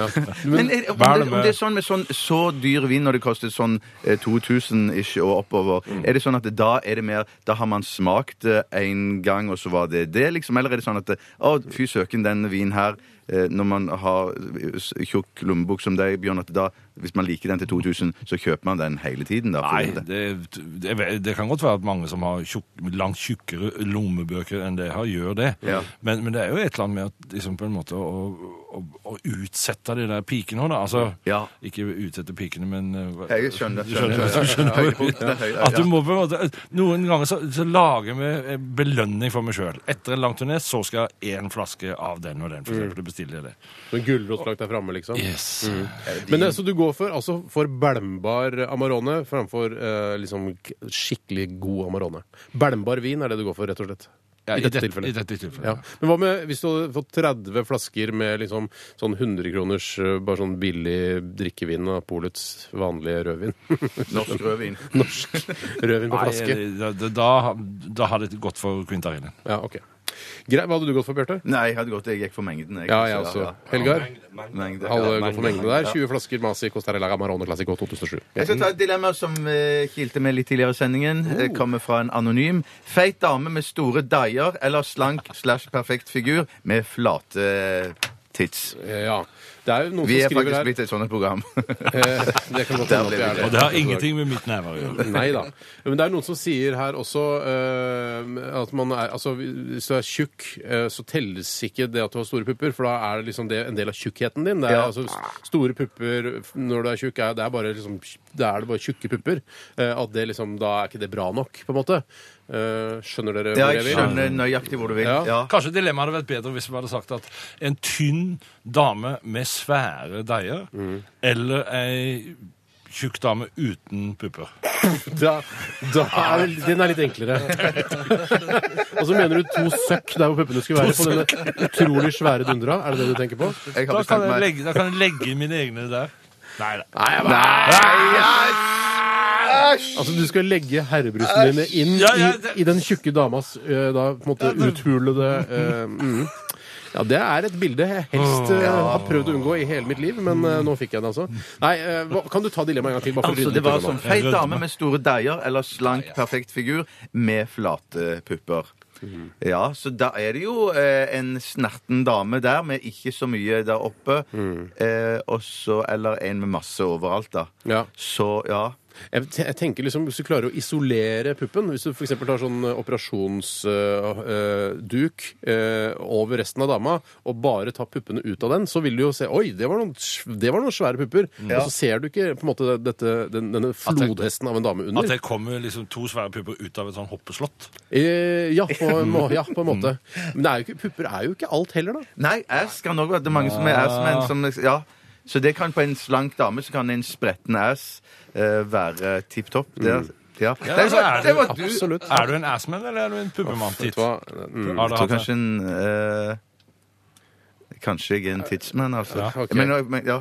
Men er, om,
Hva er det
det, om det er sånn med sånn så dyr vin når det koster sånn eh, 2000 ish og oppover, er det sånn at da er det mer Da har man smakt eh, en gang, og så var det det, liksom? Eller er det sånn at eh, Å, fy søken, den vinen her eh, Når man har eh, s- tjukk lommebok som deg, Bjørn, at da hvis man liker den til 2000, så kjøper man den hele tiden. Da, for
Nei,
det-
det, det, det kan godt være at mange som har tjukk, langt tjukkere lommebøker enn det jeg har, gjør det.
Ja.
Men, men det er jo et eller annet med at, liksom, på en måte å, å, å utsette de der pikene nå, da. Altså,
Ja.
ikke utsette pikene, men eh,
Jeg skjønner.
Du skjønner,
skjønner,
du skjønner.
Ja, høydepunktene er høyde,
At du
ja.
må på en måte, Noen ganger så, så lager vi eh, belønning for meg sjøl. Etter en lang turné så skal jeg ha én flaske av den og den. For eksempel, du bestiller jeg det.
Sånn gulrot lagt der framme, liksom.
Yes.
Men eh, så du går for, altså, for belmbar Amarone framfor eh, liksom k- skikkelig god Amarone. Belmbar vin er det du går for, rett og slett.
Ja,
I dette tilfellet.
I dette tilfellet.
Ja. Men hva med hvis du hadde fått 30 flasker med liksom sånn 100 kroners eh, bare sånn billig drikkevin av Polets vanlige rødvin? [laughs]
Norsk rødvin.
Norsk rødvin på
Nei,
flaske?
eh, da, da, da hadde det gått for kvintarinen.
Ja, ok. Greit. Hva hadde du gått for, Bjarte?
Nei, jeg hadde gått, jeg gikk for mengden. Jeg,
Ja, jeg
altså,
også. Helgar?
Mengde.
Alle går
Mengde.
for mengden der. 20 flasker Masi Costerella Amarone Classico 2007.
Jeg skal ta et dilemma som eh, kilte med litt tidligere i sendingen. Det kommer fra en anonym. Feit dame med store daier eller slank slash perfekt figur med flate tits.
Eh, Ja. Det er jo noen
Vi
som
er
skriver
faktisk
her
blitt et sånt program. [laughs]
Eh, Det kan godt hende
Der
at
ble
det er
vi
det.
Og det har ingenting med mitt neve å gjøre.
Nei da. Men det er noen som sier her også eh, at man er Altså, hvis du er tjukk, eh, så telles ikke det at du har store pupper, for da er det liksom det en del av tjukkheten din. Det er
Ja.
altså s- store pupper f- når du er tjukk, er, det er bare liksom Da er det bare tjukke pupper. Eh, at det liksom Da er ikke det bra nok, på en måte. Eh, skjønner dere
Ja,
hvor
jeg
jeg vil?
skjønner nøyaktig hvor du vil.
Ja.
Ja.
Kanskje dilemmaet hadde vært bedre hvis vi hadde sagt at en tynn dame med svære deier eller ei tjukk dame uten pupper.
Da, da er det, den er litt
[laughs]
enklere. Og så mener du to søkk der hvor puppene skulle være, på denne utrolig svære dundra? Er det det du tenker på?
Jeg har
Da kan
bestemt
jeg
meg.
legge, da kan jeg legge mine egne der. Nei da.
Altså, du skal legge herrebrystene dine inn
Ja,
i,
ja, det-
i den tjukke damas eh, da, på en måte uthulede eh, mm. Ja, det er et bilde jeg helst eh, har prøvd å unngå i hele mitt liv, men eh, nå fikk jeg det, altså. Nei, eh, hva, kan du ta dilemmaet en gang til? Bare for å
Altså,
rydde
det
litt
var
unna.
sånn feit dame med store deier eller slank, perfekt figur med flate pupper. Ja, så da er det jo eh, en snerten dame der med ikke så mye der oppe. Eh, og så Eller en med masse overalt, da.
Ja.
Så ja.
Jeg, te- jeg tenker liksom, Hvis du klarer å isolere puppen Hvis du f.eks. tar sånn eh, operasjonsduk eh, over resten av dama og bare tar puppene ut av den, så vil du jo se Oi, det var noen, sv- det var noen svære pupper. Og så ser du ikke på en måte dette, den, denne flodhesten av en dame
At
under.
det kommer liksom to svære pupper ut av et sånn hoppeslott.
Eh, ja, på en må, ja, på en
Mm.
måte. Men det er jo ikke, pupper er jo ikke alt heller, da.
Nei, ass kan også være det er mange som er ass, men som Ja. Så det kan på en slank dame så kan en spretten ass eh, være tipp topp. Det, Mm. ja.
Ja,
det,
altså, er
var, det var
du-
du.
Absolutt.
Er du en assman eller er du en puppemann?
Vet
Titt?
du hva? Mm.
Har
Jeg tror
du hatt det?
kanskje en eh, Kanskje jeg er en tidsmann, altså.
Ja,
ok.
men, men, ja.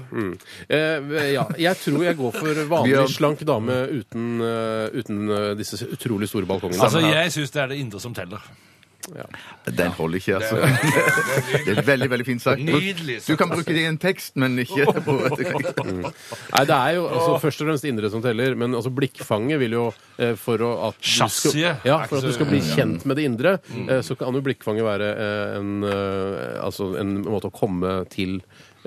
Eh, ja, jeg tror jeg går for
Bjørn.
vanlig slank dame uten, eh, uten eh, disse utrolig store balkongene.
Altså, jeg syns det er det indre som teller.
Den holder ikke, altså. [laughs] Det er veldig, veldig fint sagt.
Nydelig sagt,
Du kan bruke det i en tekst, men ikke på [laughs]
Nei, det er jo altså, først og fremst indre som teller, men altså, blikkfanget vil jo eh, For å at du skal,
Chassiset
ja,
er
for at du
ikke så-
skal bli kjent med det indre, eh, så kan jo blikkfanget være eh, en, eh, altså, en måte å komme til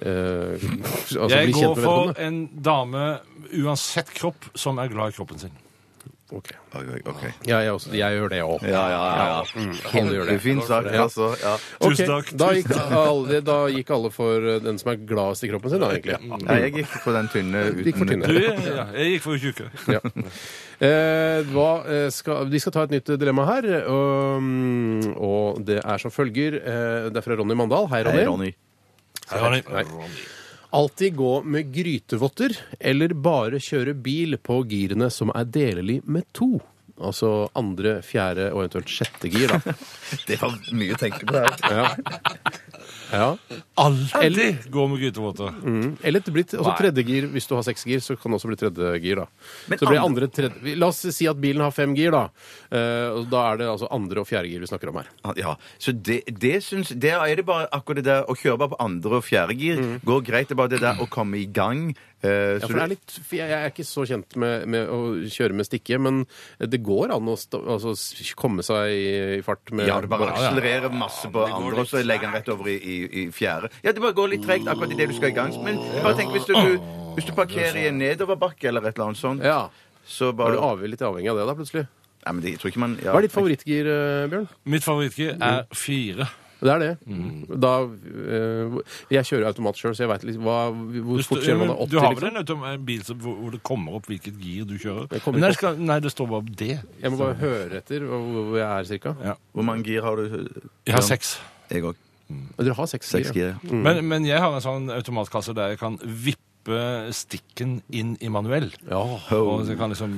eh, Altså
Jeg
bli kjent
går
med
for
vedkommende.
en dame uansett kropp som er glad i kroppen sin.
Ok.
okay.
Ja, jeg, også, jeg gjør det òg.
Ja, ja, ja.
Alle gjør det.
Fin sak, altså. Ja.
Ok,
Mm. Tusen takk.
Da gikk, alle, da gikk alle for eh, den som er gladest i kroppen sin, da,
Mm.
egentlig.
Nei, jeg gikk på den tynne
Gikk for
uten
Du,
tynne.
ja, jeg gikk for tjukke.
Ja. Eh, hva, eh, skal, vi skal ta et nytt dilemma her, og, og det er som følger. Eh, det er fra Ronny Mandal. Hei,
Nei,
Ronny.
Ronny.
Ronny.
Alltid gå med grytevotter, eller bare kjøre bil på girene som er delelig med to. Altså andre, fjerde og eventuelt sjette gir, da.
Det var mye å tenke på
[laughs]
der.
Ja. Ja.
Alltid gå med grytevotter.
Mm. Eller det blir t- også
Nei.
tredje gir. Hvis du har seks gir, så kan det også bli tredje gir. da. Så blir
andre-
andre, tredje, La oss si at bilen har fem gir, da. Eh, og da er det altså andre og fjerde gir vi snakker om her.
Ja, så det, det syns Det er det bare akkurat det der å kjøre bare på andre og fjerde gir. Går greit. Det er bare det der å komme i gang. eh,
Ja,
så
for det er
du-
litt, for jeg jeg er ikke så kjent med, med å kjøre med stikke, men det går an å sta- altså, s- komme seg i, i fart med
ja, du bare
bare-
akselererer masse på andre, og så legger han rett over i, i, i fjerde. Ja, det bare går litt tregt akkurat idet du skal i gang. Men bare tenk hvis du, du Hvis du parkerer i en nedoverbakke eller et eller annet sånt,
Ja.
så
Er du
bare
avhengig, litt avhengig av det, da, plutselig?
Nei, men det, jeg tror ikke man ja.
Hva er ditt favorittgir, eh, Bjørn?
Mitt
Mm.
favorittgir er fire.
Det er det.
Mm.
Da eh, Jeg kjører automat sjøl, så jeg veit litt hva, hvor fort kjører man da opp
du har
til,
vel
liksom.
en autom- en bil som, hvor hvor det kommer opp hvilket gir du kjører?
Det kommer
Men det
ikke
skal, nei, det står bare det.
Jeg må bare høre etter hvor hvor jeg er, cirka.
Ja.
Hvor mange gir har du?
Jeg har seks.
Jeg òg.
Dere har seks
Seks
gir. ja.
gir.
Men, men jeg har en sånn automatkasse der jeg kan vippe stikken inn i manuell.
Ja.
Og så jeg kan liksom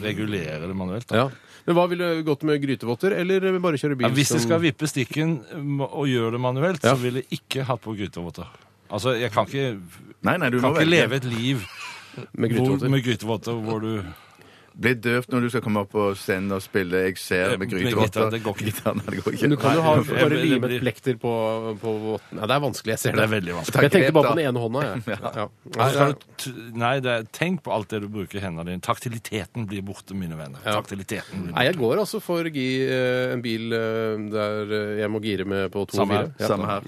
regulere det manuelt. Da.
ja. Men hva ville du gått med? Grytevotter eller bare kjøre bil?
Ja, hvis jeg
som-
skal vippe stikken mm, og gjøre det manuelt,
Ja.
så ville jeg ikke hatt på grytevotter. Altså, jeg kan ikke,
Nei, nei, du
kan
må
ikke
velge.
leve et liv
med
hvor,
grytevotter?
med grytevotter hvor du
Bli døvt når du skal komme opp på scenen og spille 'Jeg ser' med
Med
gryterotter.
gitar, det går ikke.
[laughs] Gitar, nei, det går ikke.
Men du kan jo ha
Nei, det
bare
blir-
limet plekter på, på votten. Nei, det er vanskelig, jeg ser
Det
det.
er veldig vanskelig.
Jeg tenkte
Grep,
bare på
da.
den ene hånda, jeg. Ja. Altså, Nei,
Og så
det
skal
er-
Altså, du t- Nei, det er, tenk på alt det du bruker i hendene dine. Taktiliteten blir borte, mine venner.
Ja.
Taktiliteten blir
Nei,
borte.
jeg går altså for gi, eh, en bil eh, der eh, jeg må gire med på to og
Samme her.
fire. Ja,
Samme her.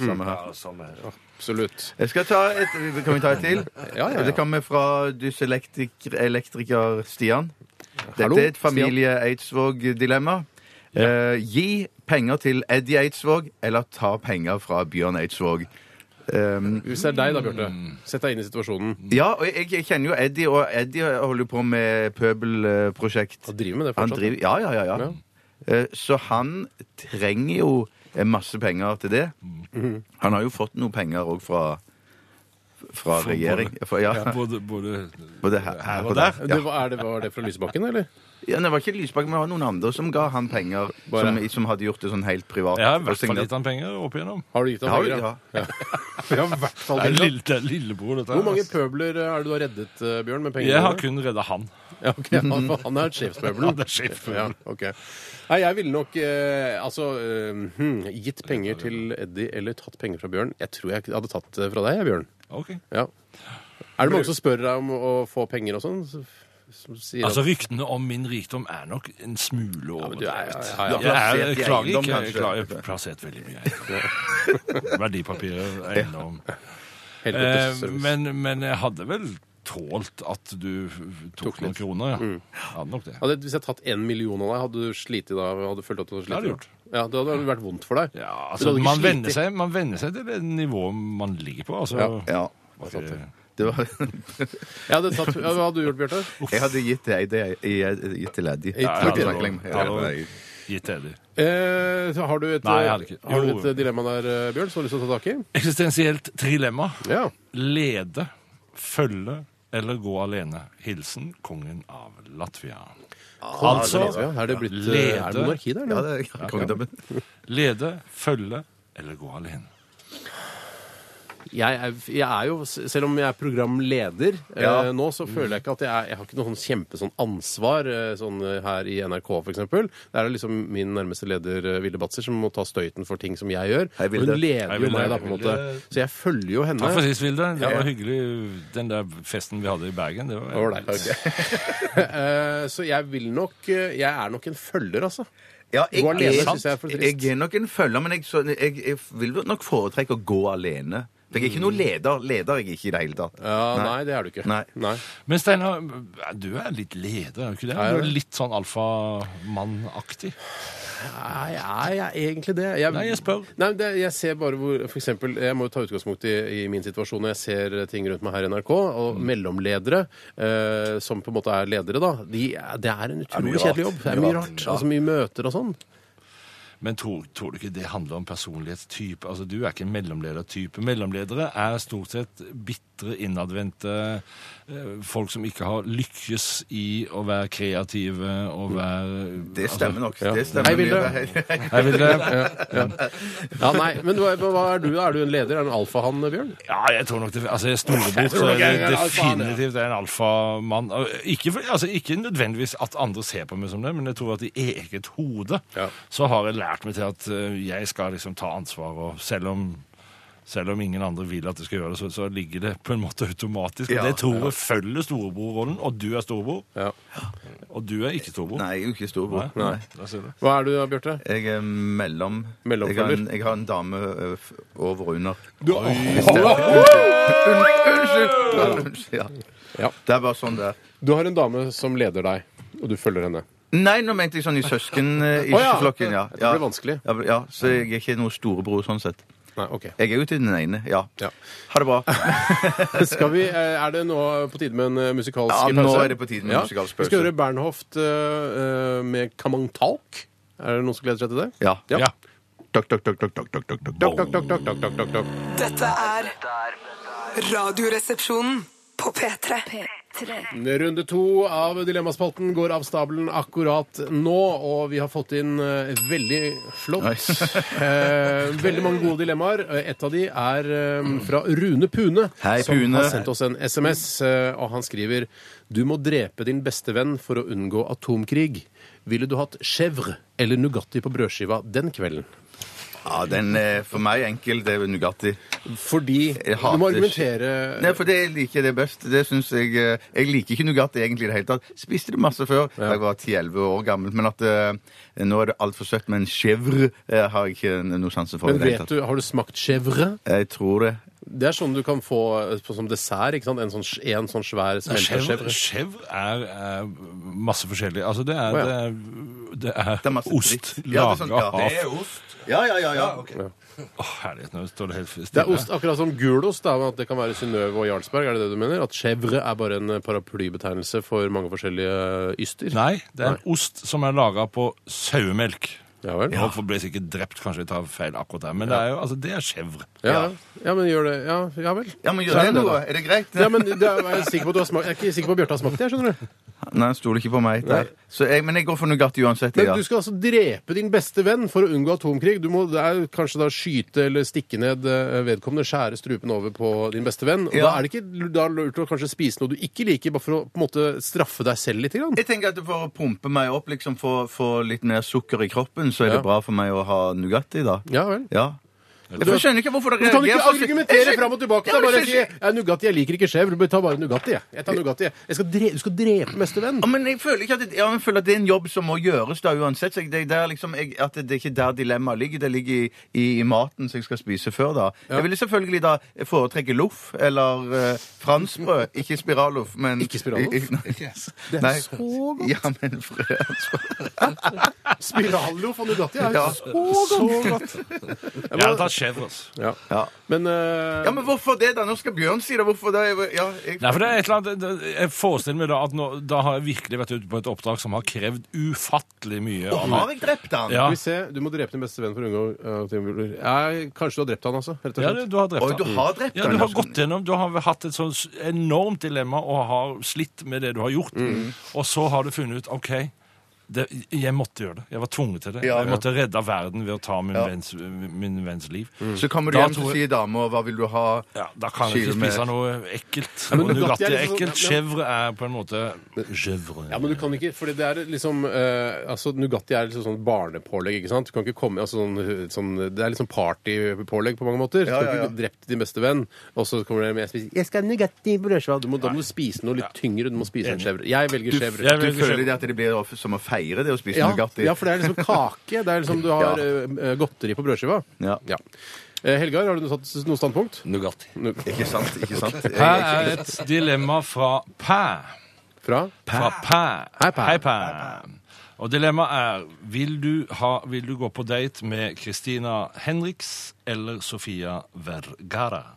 Samme her.
Absolutt.
Jeg skal ta et, kan vi ta et til?
Ja, ja, ja.
Det kommer fra dyselektriker Stian. Dette
Hallo,
er et familie Eidsvåg-dilemma. Eh, gi penger til Eddie Eidsvåg, eller ta penger fra Bjørn Eidsvåg. Um,
Hvis det er deg da, Bjørte.
Mm.
Sett deg inn i situasjonen.
ja, og jeg, jeg kjenner jo Eddie, og Eddie holder jo på med pøbelprosjekt.
Og driver med det
Han
fortsatt.
driver Ja, ja, ja. ja. Eh, Så han trenger jo eh, masse penger til det. Han har jo fått noe penger òg fra fra
Fra
regjering.
både-
Fra, ja,
Ja, både, både
både her, her og der.
der.
Det, var, er det, var det fra Lysebakken, eller?
Ja, det var ikke Lysbakken, men det var noen andre som ga han penger.
Bare-
Som, som hadde gjort det sånn helt privat.
Jeg har i
og
hvert fall
signert-
gitt han penger opp igjennom.
Har du gitt ham
Ja,
penger?
ja.
Ja, i hvert fall
Det er,
penger, da.
lille, det er lillebror, dette
Hvor mange
altså.
pøbler eh, er det du har reddet, eh, Bjørn, med pengene?
Jeg har
dine?
kun redda han.
Ja, ok. Han, han er sjefspøbelen.
Han er sjefspøbelen.
Ja, ok. Nei, jeg ville nok eh, altså eh, hmm, gitt penger til Eddie eller tatt penger fra Bjørn. Jeg tror jeg hadde tatt det fra deg, jeg, Bjørn.
Ok.
Ja. Er det mange som spør deg om å få penger og sånn? Som som sier
Altså,
at
ryktene om min rikdom er nok en smule
men du er-
overdrevet.
ja, ja, ja.
Jeg er-
Plassert i
jeg klager
eiendom,
ikke. Jeg
kanskje.
klager- jeg har plassert veldig
[laughs]
mye. eiendom. Verdipapirer, eiendom. Eh,
helvetes service.
men, men jeg hadde vel tålt at du tok,
Tok litt. Mm.
noen
Altså,
kroner, ja. Hadde nok det.
hadde, hvis jeg hadde tatt én million av deg, hadde du slitt da? Hadde du følt at du hadde
Det hadde
slitt?
jeg gjort.
Ja, det hadde vært vondt for deg.
Ja,
Du
altså,
hadde ikke
man
slitt i-
venner, seg, man venner seg til det nivået man ligger på. Altså,
Ja.
Ja.
Var ikke-
Det var,
Jeg hadde tatt, ja, hva hadde du gjort, Bjørte?
jeg hadde gitt det, det jeg hadde gitt til Eddie.
Ja,
jeg
Takk
hadde
for
det.
snakkingen.
Ja, det var-
Ja,
Gitt til det.
Eh, så har du et,
Nei, jeg hadde ikke.
har du
Jo.
et eh, dilemma der, eh, Bjørn, som du har lyst til å ta tak i?
Eksistensielt trilemma.
Ja.
Lede, følge eller gå alene. Hilsen kongen av Latvia.
Altså,
Altså,
ja, er det blitt eh,
lede-
Er det monarki der?
ja,
eller?
det er kongedømmen.
Lede, følge eller gå alene.
jeg, er, jeg er jo, selv om jeg er programleder eh,
Ja.
nå, så føler jeg ikke at jeg, er, jeg har ikke noe sånn kjempesomt ansvar eh, sånn eh, her i NRK, for eksempel. Der er det liksom min nærmeste leder, eh, Vilde Batzer, som må ta støyten for ting som jeg gjør.
Hei, Vilde.
Og hun leder
Hei,
jo
Vilde.
meg, da, på en måte. Så jeg følger jo henne.
Takk for sist, Vilde. Det
Ja.
var hyggelig, den der festen vi hadde i Bergen. Det var,
Det var deg,
[laughs]
takk. Eh, så jeg vil nok eh, Jeg er nok en følger, altså.
Ja, jeg,
Gå alene
jeg-
synes jeg er for trist.
Jeg er nok en følger, men jeg, så, jeg, jeg vil nok foretrekke å gå alene. For jeg er ikke noen leder. Leder er jeg ikke i det hele tatt.
Mm. Ja, nei. det er du ikke.
Nei.
Men Steinar, du er litt leder, er du ikke det?
Er jeg
Du er
det?
litt sånn alfamannaktig.
Nei, er jeg egentlig det?
Nei, jeg spør.
Nei, men det, jeg ser bare hvor, for eksempel, Jeg må jo ta utgangspunkt i, i min situasjon når jeg ser ting rundt meg her i NRK. Og mellomledere, eh, som på en måte er ledere, da, de, det er en utrolig
mye
kjedelig
rart.
jobb. Det er mye rart. Altså mye møter og sånn.
Men tror, tror du ikke det handler om personlighetstype? Altså, Du er ikke en mellomledertype. Mellomledere er stort sett bitre, innadvendte eh, folk som ikke har lykkes i å være kreative og være
Det stemmer nok. Det
Altså, Hei,
stemmer
Vilde.
Altså, jeg vil, ja,
Ja, nei, men hva, hva er du? da? Er du en leder? Er du en alfahann, Bjørn?
jeg tror nok det Altså, jeg er storebror, så
tror nok
er det
jeg er en alfamann, ja.
definitivt en alfamann. Og Ikke, for- altså, ikke nødvendigvis at andre ser på meg som det, men jeg tror at i eget hode
Ja.
så har jeg lært meg til at eh, jeg skal liksom ta ansvar, og selv om selv om ingen andre vil at det skal gjøre det, så, så ligger det på en måte automatisk.
Ja,
og det toret følger storebrorrollen, og du er storebror,
Ja.
og du er ikke storebror.
Nei, jeg er jo ikke storbror.
Nei.
Nei.
Da ser du.
Hva er du da, Bjarte?
Jeg er mellom
Mellomfølger.
jeg har, en, jeg har en dame ø, f- over og under. Unnskyld! Unnskyld! Unnskyld, Ja.
Ja.
Det er bare sånn det er.
Du har en dame som leder deg, og du følger henne.
Nei, nå mente jeg sånn i
Å, ja.
søskenflokken. Ja.
Det
Ja.
blir vanskelig.
Ja, ja, så jeg er ikke noen storebror sånn sett.
Nei, ok.
Jeg er jo til den ene, ja.
Ja.
Ha det bra.
[laughs] Skal vi, eh, er det nå på tide med en eh, musikalsk
Ja,
pause?
nå er det på tide med en musikalsk
Vi skal
pause.
høre Bernhoft eh, eh, med Kamantalk. Er det noen som gleder seg til det?
Ja.
Ja.
Ja.
Tok, tok, tok, tok, tok, tok, tok, tok.
Dokk, dokk, dokk, dokk, dokk, dokk, dokk, dokk.
Dette er Radioresepsjonen på P3.
Runde to av Dilemmaspalten går av stabelen akkurat nå, og vi har fått inn eh, veldig flott [laughs] eh, Veldig mange gode dilemmaer. Eh, Et av de er eh, fra Rune Pune,
Hei,
som
Pune.
har sendt oss en SMS, eh, og han skriver Du må drepe din beste venn for å unngå atomkrig. Ville du hatt chèvre eller Nugatti på brødskiva den kvelden?
Ja, den er for meg enkel. Det er jo Nugatti.
Fordi
Jeg
Du
hater
må argumentere
Nei, for det liker jeg det best. Det synes jeg, eh, jeg liker ikke Nugatti egentlig i det hele tatt. Spiste det masse før da jeg var 10-11 år gammel, men at eh, nå er det altfor søtt. Men chèvre eh, har jeg ikke noe sjanse for. i
Men
det hele
vet
tatt.
du, har du smakt chèvre?
Jeg tror det.
Det er sånn du kan få eh, på- som dessert. ikke sant? En sånn, en sånn svær smelta
Chèvre
chèvre.
chèvre er, er masse forskjellig. Altså, det er,
Å, ja.
det er, det er,
Det er masse
ost
dritt. Ja, det er
laga
sånn- ja,
av
det er Ja, ja, ja. ja.
Å, herlighet, nå står det helt stille.
Det er ost akkurat som gulost. da, men At det kan være Synnøve og Jarlsberg. Er det det du mener? At chèvre er bare en eh, paraplybetegnelse for mange forskjellige eh, yster?
Nei, det er ost som er laga på sauemelk.
Ja vel?
Ja. Folk ble sikkert drept, kanskje jeg tar feil akkurat der, men det er jo, altså, det er chèvre.
Ja, ja, men gjør det. Ja, ja vel.
Ja, men
Så
gjør
er
det
det
nå.
da.
Er det greit?
Ja, men det er, jeg, er sikker på at du har smakt, jeg er ikke sikker på at Bjarte har smakt det. skjønner du?
[laughs] Nei, han stoler ikke på meg. Der. Så jeg, men jeg går for Nugatti uansett.
Men
Ja.
Du skal altså drepe din beste venn for å unngå atomkrig. Du må det er kanskje da skyte eller stikke ned eh, vedkommende, skjære strupen over på din beste venn. Og
Ja.
Da er det ikke da er det lurt å kanskje spise noe du ikke liker, bare for å på en måte straffe deg selv litt. Grann.
Jeg tenker at For å pumpe meg opp, liksom få få litt mer sukker i kroppen, så er
Ja.
det bra for meg å ha Nugatti, da.
Ja vel.
Ja. Jeg får- skjønner ikke hvorfor
Du
dere
kan ikke
reagerer så-
argumentere
Jeg skjønner-
fram og tilbake.
Ja,
Da
men
bare
jeg
si
skjønner-
ja, Nugatti, jeg liker ikke skjev. Ta bare Nugatti, jeg. jeg tar Nugatti, jeg. jeg skal drepe, du skal drepe beste venn.
Ja, men jeg føler ikke at det, ja, jeg føler at det er en jobb som må gjøres da uansett. Så jeg, det, er der liksom, jeg, at det, det er ikke der dilemmaet ligger. Det ligger i, i, i maten som jeg skal spise før da. Jeg ville selvfølgelig da foretrekke loff eller uh, franskbrød. Ikke spiralloff, men
Ikke spiralloff?
I- i- nei.
Det er
Nei.
så godt.
Ja, men frø-
Spiralloff og Nugatti er
Ja.
så godt.
Jeg hadde tatt chèvre, altså.
Ja.
Ja.
Men, eh,
ja, men hvorfor det, da? Nå skal Bjørn si det. Hvorfor det? Ja, jeg,
Nei, for det er et eller annet, det- det- Jeg forestiller meg da at nå, da har jeg virkelig vært ute på et oppdrag som har krevd ufattelig mye av
har
meg.
jeg drept han?
Ja,
Skal vi se, Du må drepe din beste venn for å unngå eh, atomkrig. Nei, Kanskje du har drept han, altså. Rett og
ja
slett.
du, du har drept
Oi,
han.
du har drept
Ja,
han,
du har
altså.
gått gjennom, du har hatt et sånn enormt dilemma og har slitt med det du har gjort. Og så har du funnet ut OK, det, jeg måtte gjøre det. Jeg var tvunget til det.
Ja.
jeg måtte redde verden ved å ta min,
Ja. Mm.
venns, min venns liv.
Så kommer du
Da
hjem
tror
og
jeg-
sier dame, og hva vil du ha?
Ja, da kan jeg ikke
Skive med-
spise noe ekkelt.
men
Og
Nugatti
Nugatti
er
er
liksom-
ekkelt. Chèvre er på en måte Chèvre.
Ja, men du kan ikke, for det er liksom eh, altså Nugatti er liksom sånn barnepålegg, ikke sant? Du kan ikke komme, altså sånn, sånn Det er liksom partypålegg på mange måter. Du
Ja,
kan
ja,
ikke
ja.
drept din beste venn, og så kommer det med jeg spiser, jeg skal ha Nugatti i brødskiva. Du må- Da må du spise noe litt tyngre. Du må spise en chèvre. Jeg velger chèvre.
Du
Jeg vil ikke
føler
chèvre.
det at det blir of- som å feire det å spise
Ja,
Nugatti?
ja, for det er liksom kake. Det er liksom du har eh, godteri på brødskiva.
Ja.
Eh, Helgar, har du tatt noe standpunkt?
Nugatti.
Nu-
Ikke sant? ikke sant?
[laughs]
Jeg-
Her
jeg-
er et dilemma fra Pæ.
Fra?
Fra Pæ.
Hei, Pæ.
Hei, Pæ. Og dilemmaet er vil du, ha, vil du gå på date med Christina Henriks eller Sofia Vergara?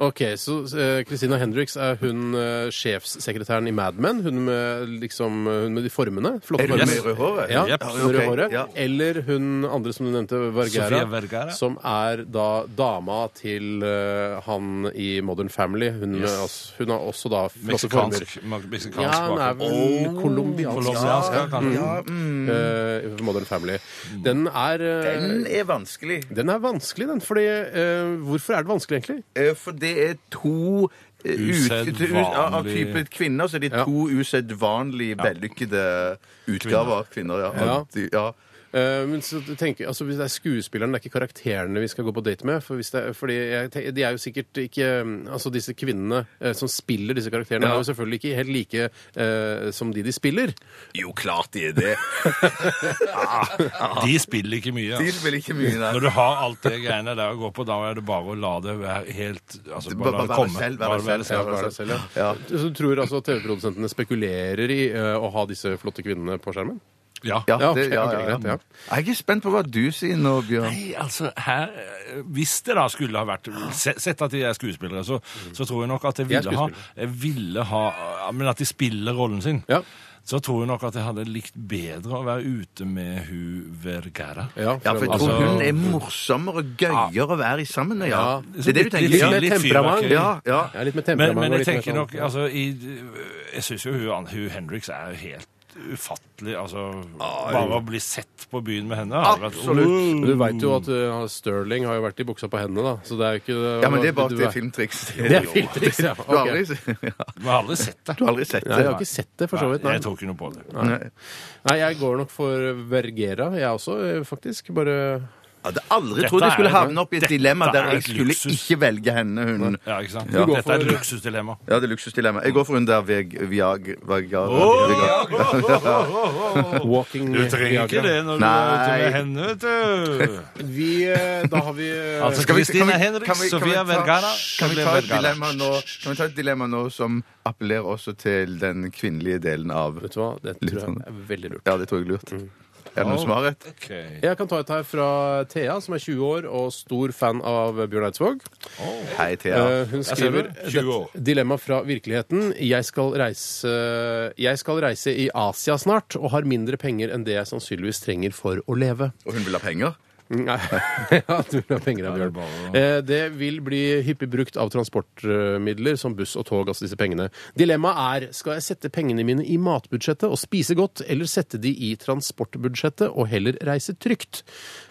Ok, så eh, Christina Hendricks er hun eh, sjefssekretæren i Mad Men. Hun med, liksom, eh, hun med de formene. Flotte
Er du
former.
med i rød håret?
Ja,
Jepp.
med rød
Ok,
håret.
ja.
Eller hun andre som du nevnte, Vergara.
Sofia Vergara.
Som er da dama til eh, han i Modern Family. Hun,
Yes.
eh, altså, hun har også da flotte former.
Meksikansk mak- meksikansk
Ja, hun er
bakgrunn.
vel colombiansk.
Colombiansk, ja, kanskje.
mm. eh, Modern Family. Den er eh,
mm, Den er vanskelig.
den er vanskelig, den. Fordi, eh, hvorfor er det vanskelig, egentlig?
Eh, For det er to eh, ut-
Usedvanlig-
ut- Av type kvinner så er de
Ja.
to usedvanlig vellykkede utgaver av kvinner. Ja.
Ja.
Og de- ja.
Eh, men så tenker, altså, hvis det er skuespillerne, det er ikke karakterene vi skal gå på date med. For hvis det, er- fordi jeg, tenker- de er jo sikkert ikke eh, Altså disse kvinnene eh, som spiller disse karakterene, er jo selvfølgelig ikke helt like eh, som de de spiller.
Jo, klart de
[laughs]
er det.
De spiller ikke mye.
De
Altså.
spiller ikke mye, nei.
Når du har alt det greiene der å gå på, da er det bare å la det være helt altså,
Bare-
Bare la
bare
det
være
komme.
selv, være
Bare være
selv,
selv.
ja,
Hver
bare-
seg selv, ja.
Ja.
Så du tror altså at TV-produsentene spekulerer i eh, å ha disse flotte kvinnene på skjermen?
Ja.
Ja,
Ja,
det,
ok,
ja,
ok,
ja,
greit, ja.
ja. Jeg er ikke spent på hva du sier nå, Bjørn.
Nei, altså, her, eh, Hvis det da skulle ha vært se- Sett at de er skuespillere, så, så tror jeg nok at jeg
De er
ville ha,
skuespillere.
jeg ville ha ja, Men at de spiller rollen sin.
Ja.
Så tror jeg nok at jeg hadde likt bedre å være ute med hun Vergara.
Ja,
Ja, for jeg tror
Altså-
hun er morsommere og gøyere å være i sammen med, ja.
Ja.
Det er det du tenker?
Litt-
Ja,
litt mer temperament.
fyrverkeri.
ja. ja.
Ja, litt med
Men,
temperament
men
og litt
jeg
mer
tenker
sånn-
nok altså, i, Jeg syns jo hun, Ann- hun Hendrix er jo helt ufattelig. Altså,
Ah,
bare å bli sett på byen med henne hadde vært-
Absolutt.
Men Du veit jo at uh, Sterling har jo vært i buksa på hendene, da. Så det er jo ikke
Ja, men det er bare
du-
at det er filmtriks.
Det er filmtriks, [laughs] ja.
Du har
Ok.
aldri, [laughs] ja.
Vi har aldri sett det.
du har aldri sett
Nei,
det?
jeg har ikke sett det, for så vidt.
Nei,
Nei.
jeg tror ikke noe på det.
Nei.
Nei, jeg går nok for Vergera, jeg også, eh, faktisk. Bare
Jeg hadde aldri
Dette
trodd jeg skulle
er-
havne opp i et
dette
dilemma der
er
jeg
et
skulle
luksus.
ikke velge henne. Hun.
Ja, ikke sant?
Du går
Dette er et
for-
luksusdilemma.
Ja, det er luksusdilemma. Jeg går for hun der Veg Viag... Viagra.
walking
Du trenger ikke det når du
Nei.
er ute med henne, vet du.
Vi, eh, da har vi eh,
[laughs] Altså,
Skal vi-
Christina
kan vi-
Henriks,
kan vi- kan vi
Sofia
ta-
Vergara,
Kan vi
Sofia
ta et
Vergara.
dilemma nå, kan vi ta et dilemma nå som appellerer også til den kvinnelige delen av
Vet du hva, det
Litt
tror jeg
sånn.
er veldig lurt.
Ja, det tror jeg er lurt.
Mm.
Er det noen som har rett?
Ok.
Jeg kan ta et her fra Thea, som er 20 år og stor fan av Bjørn Eidsvåg.
Hei, Thea.
Eh, Hun
ser du.
skriver
20 år.
dette dilemma fra virkeligheten. Jeg skal, reise, jeg skal reise i Asia snart og har mindre penger enn det jeg sannsynligvis trenger for å leve.
Og hun vil ha penger?
Nei, [laughs] ja, du vil ha penger av Bjørn. Eh, Det vil bli hyppig brukt av transportmidler som buss og tog, altså disse pengene. Dilemmaet er skal jeg sette pengene mine i matbudsjettet og spise godt, eller sette de i transportbudsjettet og heller reise trygt?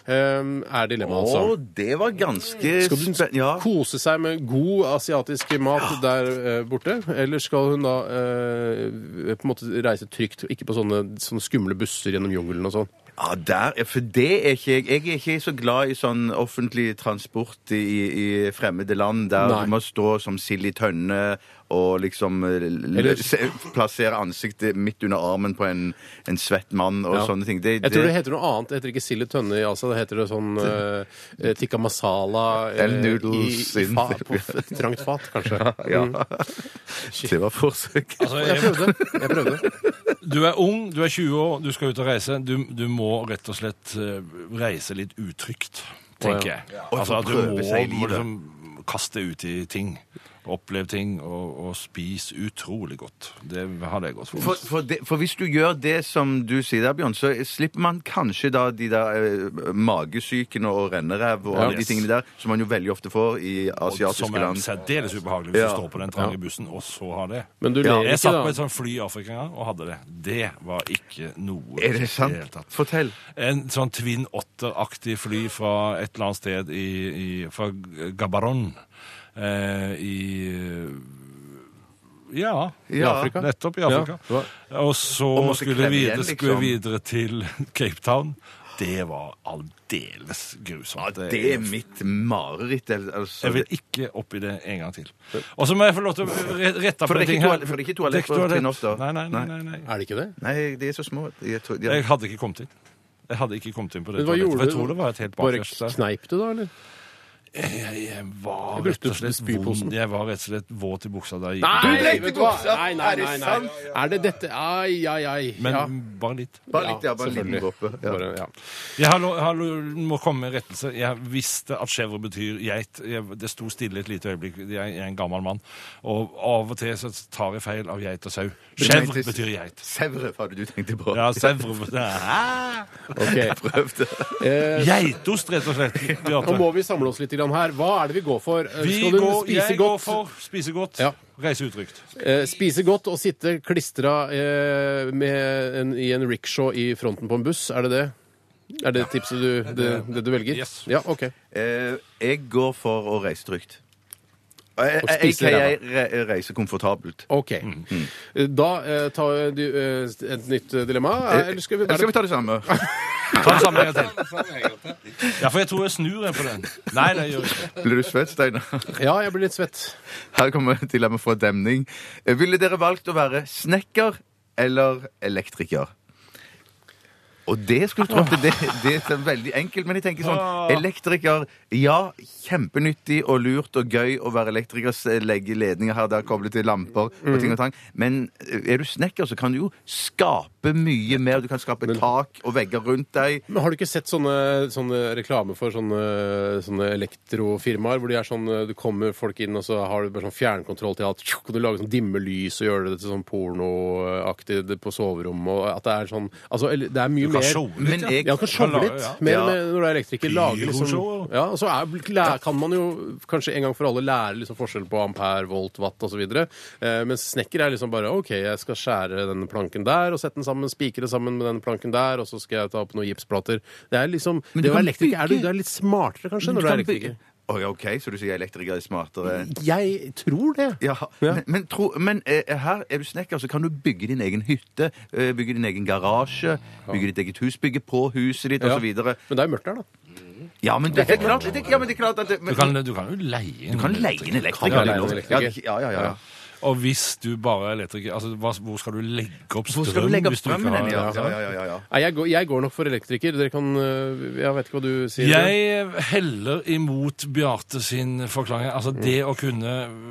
Eh, Er dilemmaet, altså.
Å, det var ganske
Skal hun
spen- Ja.
kose seg med god asiatisk mat der eh, borte? Eller skal hun da eh, på en måte reise trygt, og ikke på sånne, sånne skumle busser gjennom jungelen og sånn?
Ja, Ah, der, er- for det er ikke jeg. Jeg er ikke så glad i sånn offentlig transport i, i fremmede land, der
Nei.
du må stå som sild i tønne og liksom eh, l-
Eller-
se, plassere ansiktet midt under armen på en, en svett mann og
Ja.
sånne ting. Det,
Jeg tror det heter noe annet. Det heter ikke sild i tønne i Asia. Det heter det
[laughs]
sånn eh, tikka masala eh,
Eller noodles
i, i
in-
fa, på f- trangt fat, kanskje. Mm.
ja. [laughs] det var forsøk.
Altså,
Jeg
jeg,
prøvde. jeg prøvde.
du er ung, du er 20 år, du skal ut og reise. Du, du må rett og slett eh, reise litt utrygt, tenker jeg. Altså at du
prøve seg i
må
livet.
liksom kaste ut i ting. Oppleve ting og, og spise utrolig godt. Det hadde jeg gått for.
For, for, det, for hvis du gjør det som du sier der, Bjørn, så slipper man kanskje da de der eh, magesykene og renneræv og alle
Yes.
de tingene der, som man jo veldig ofte får i
Og som
asiatiske
er
land.
særdeles ubehagelig hvis
Ja.
du står på den trange bussen og så har det.
Men du
Ja,
ler
Jeg
ikke,
satt på et
da.
sånt fly i Afrika en gang og hadde det. Det var ikke noe
Er
i
det sant?
hele tatt.
Fortell.
En sånn Twin Otter-aktig fly fra et eller annet sted i, i, fra Gabaron eh, i Ja.
I
Ja.
Afrika?
Nettopp i Afrika.
Ja, det
Og så
Og måtte
skulle
klemme
vi
igjen,
videre, skulle
liksom.
vi videre til [laughs] Cape Town. Det var aldeles grusomt. Eh,
Det er mitt mareritt. al- Altså.
Jeg vil ikke opp i det en gang til. Og så må jeg få lov til å re- rette
For det
på
er
en ting
ikke
her.
toalett- for det er ikke toalett på Twin Otter.
Nei, nei, nei, nei, nei.
Er det ikke det?
Nei, de er så små. Jeg tror, de
Jeg hadde ikke kommet inn. Jeg hadde ikke kommet inn på det
Men hva
toalettet.
gjorde
For jeg
du?
tror det var et helt
Bare
bakerst der.
kneip du, da, eller?
Jeg, jeg var
Jeg brukte
rett og slett
spyposen.
vond. Jeg var rett og slett våt i buksa da jeg
Nei,
gikk. inn.
blekket
vet du hva?
buksa!
Nei, nei,
Er det
nei, nei.
sant?
Er det dette? Ai, ai, ai.
Men
Ja.
bare litt.
Bare litt, ja. Bare en liten
selvfølgelig.
dråpe. Ja.
Bare, ja.
Jeg har, lo- har, lo- må komme med rettelse. Jeg visste at chèvre betyr geit. Jeg, det sto stille et lite øyeblikk. Jeg, jeg er en gammel mann. Og av og til så tar jeg feil av geit og sau. Chèvre betyr geit.
Sevre, var det du tenkte på. [laughs]
Ja, sevre
[laughs]
Hæ?
Ok.
Prøvde.
Eh,
Geitost, rett og
[laughs]
slett.
nå
Bjarte.
må vi samle oss litt grann her. Hva er det vi går for? Eh,
Vi
Skal du
går,
spise
jeg går
godt,
for spise godt,
Ja.
reise utrygt.
eh, spise godt og sitte klistra eh, med en, i en rickshaw i fronten på en buss? Er det det? Er det tipset du, det, det du velger?
Yes.
Ja, OK.
Eh, jeg går for å reise trygt. Jeg,
Og
jeg,
spise
jeg, jeg re- reiser komfortabelt.
Ok.
Mm.
Da eh, tar du eh, et nytt dilemma.
Eh,
Eller skal vi
Eh,
Skal vi
bare
ta det samme?
Ta den samme en gang til. Ja, for jeg tror jeg snur en på den. Nei, det gjør jeg ikke.
Blir du svett, Steinar?
Ja, jeg blir litt svett.
Her kommer [laughs] dilemmaet fra Demning. Eh, Ville dere valgt å være snekker eller elektriker? Og det skulle du tro at det, det er veldig enkelt, men jeg tenker sånn Elektriker, ja, kjempenyttig og lurt og gøy å være elektriker, s- legge ledninger her og der, koble til lamper og
Mm.
ting og tang, men eh, er du snekker, så kan du jo skape mye mer. Du kan skape tak og vegger rundt deg.
Men Har du ikke sett sånne, sånne reklame for sånne, sånne elektrofirmaer? Hvor de er sånn, du kommer folk inn, og så har du bare sånn fjernkontroll til alt. tjokk, Og du lager sånn dimmelys og gjør det til sånn pornoaktig på soverommet. og At det er sånn Altså, eller- det er mye
Kan
mer
showe litt,
Men
ja.
jeg
ja, du kan showe litt
Ja.
mer
Ja.
med, når du er elektriker. Lage
Pyroshow,
liksom,
eller?
ja, og så er, læ- kan man jo kanskje en gang for alle lære liksom forskjell på ampere, volt, watt osv. Eh, mens snekker er liksom bare OK, jeg skal skjære den planken der og sette den sammen, spikre sammen med den planken der, og så skal jeg ta opp noen gipsplater. Det er liksom, det
Men du
å være
kan
elektriker er du,
bygge-
du er litt smartere kanskje når du er
kan by-
elektriker.
Å, ja, OK, så du sier elektriker er smartere?
Jeg tror det.
Ja, Men, men, tro, men eh, her er du snekker, så kan du bygge din egen hytte, eh, bygge din egen garasje, bygge ditt eget hus, bygge på huset ditt, og
Ja.
osv. videre
Men det er jo mørkt her, da.
Ja, men det er klart, det, ja, men det er klart at det, men,
Du kan, du kan jo leie inn
du kan leie en
Kan
elektriker.
leie en
det er lov.
elektriker.
Ja, ja, ja, ja.
Og hvis du bare er elektriker altså, hva, Hvor skal du legge opp strøm?
Hvor skal du legge opp
hvis du ikke
strømmen
har- altså.
hen? Ja, ja, ja, ja, ja.
Nei, jeg, går, jeg går nok for elektriker. Dere kan øh, Jeg vet ikke hva du sier.
Jeg heller imot Bjarte sin forklaring. Altså
Mm.
det å kunne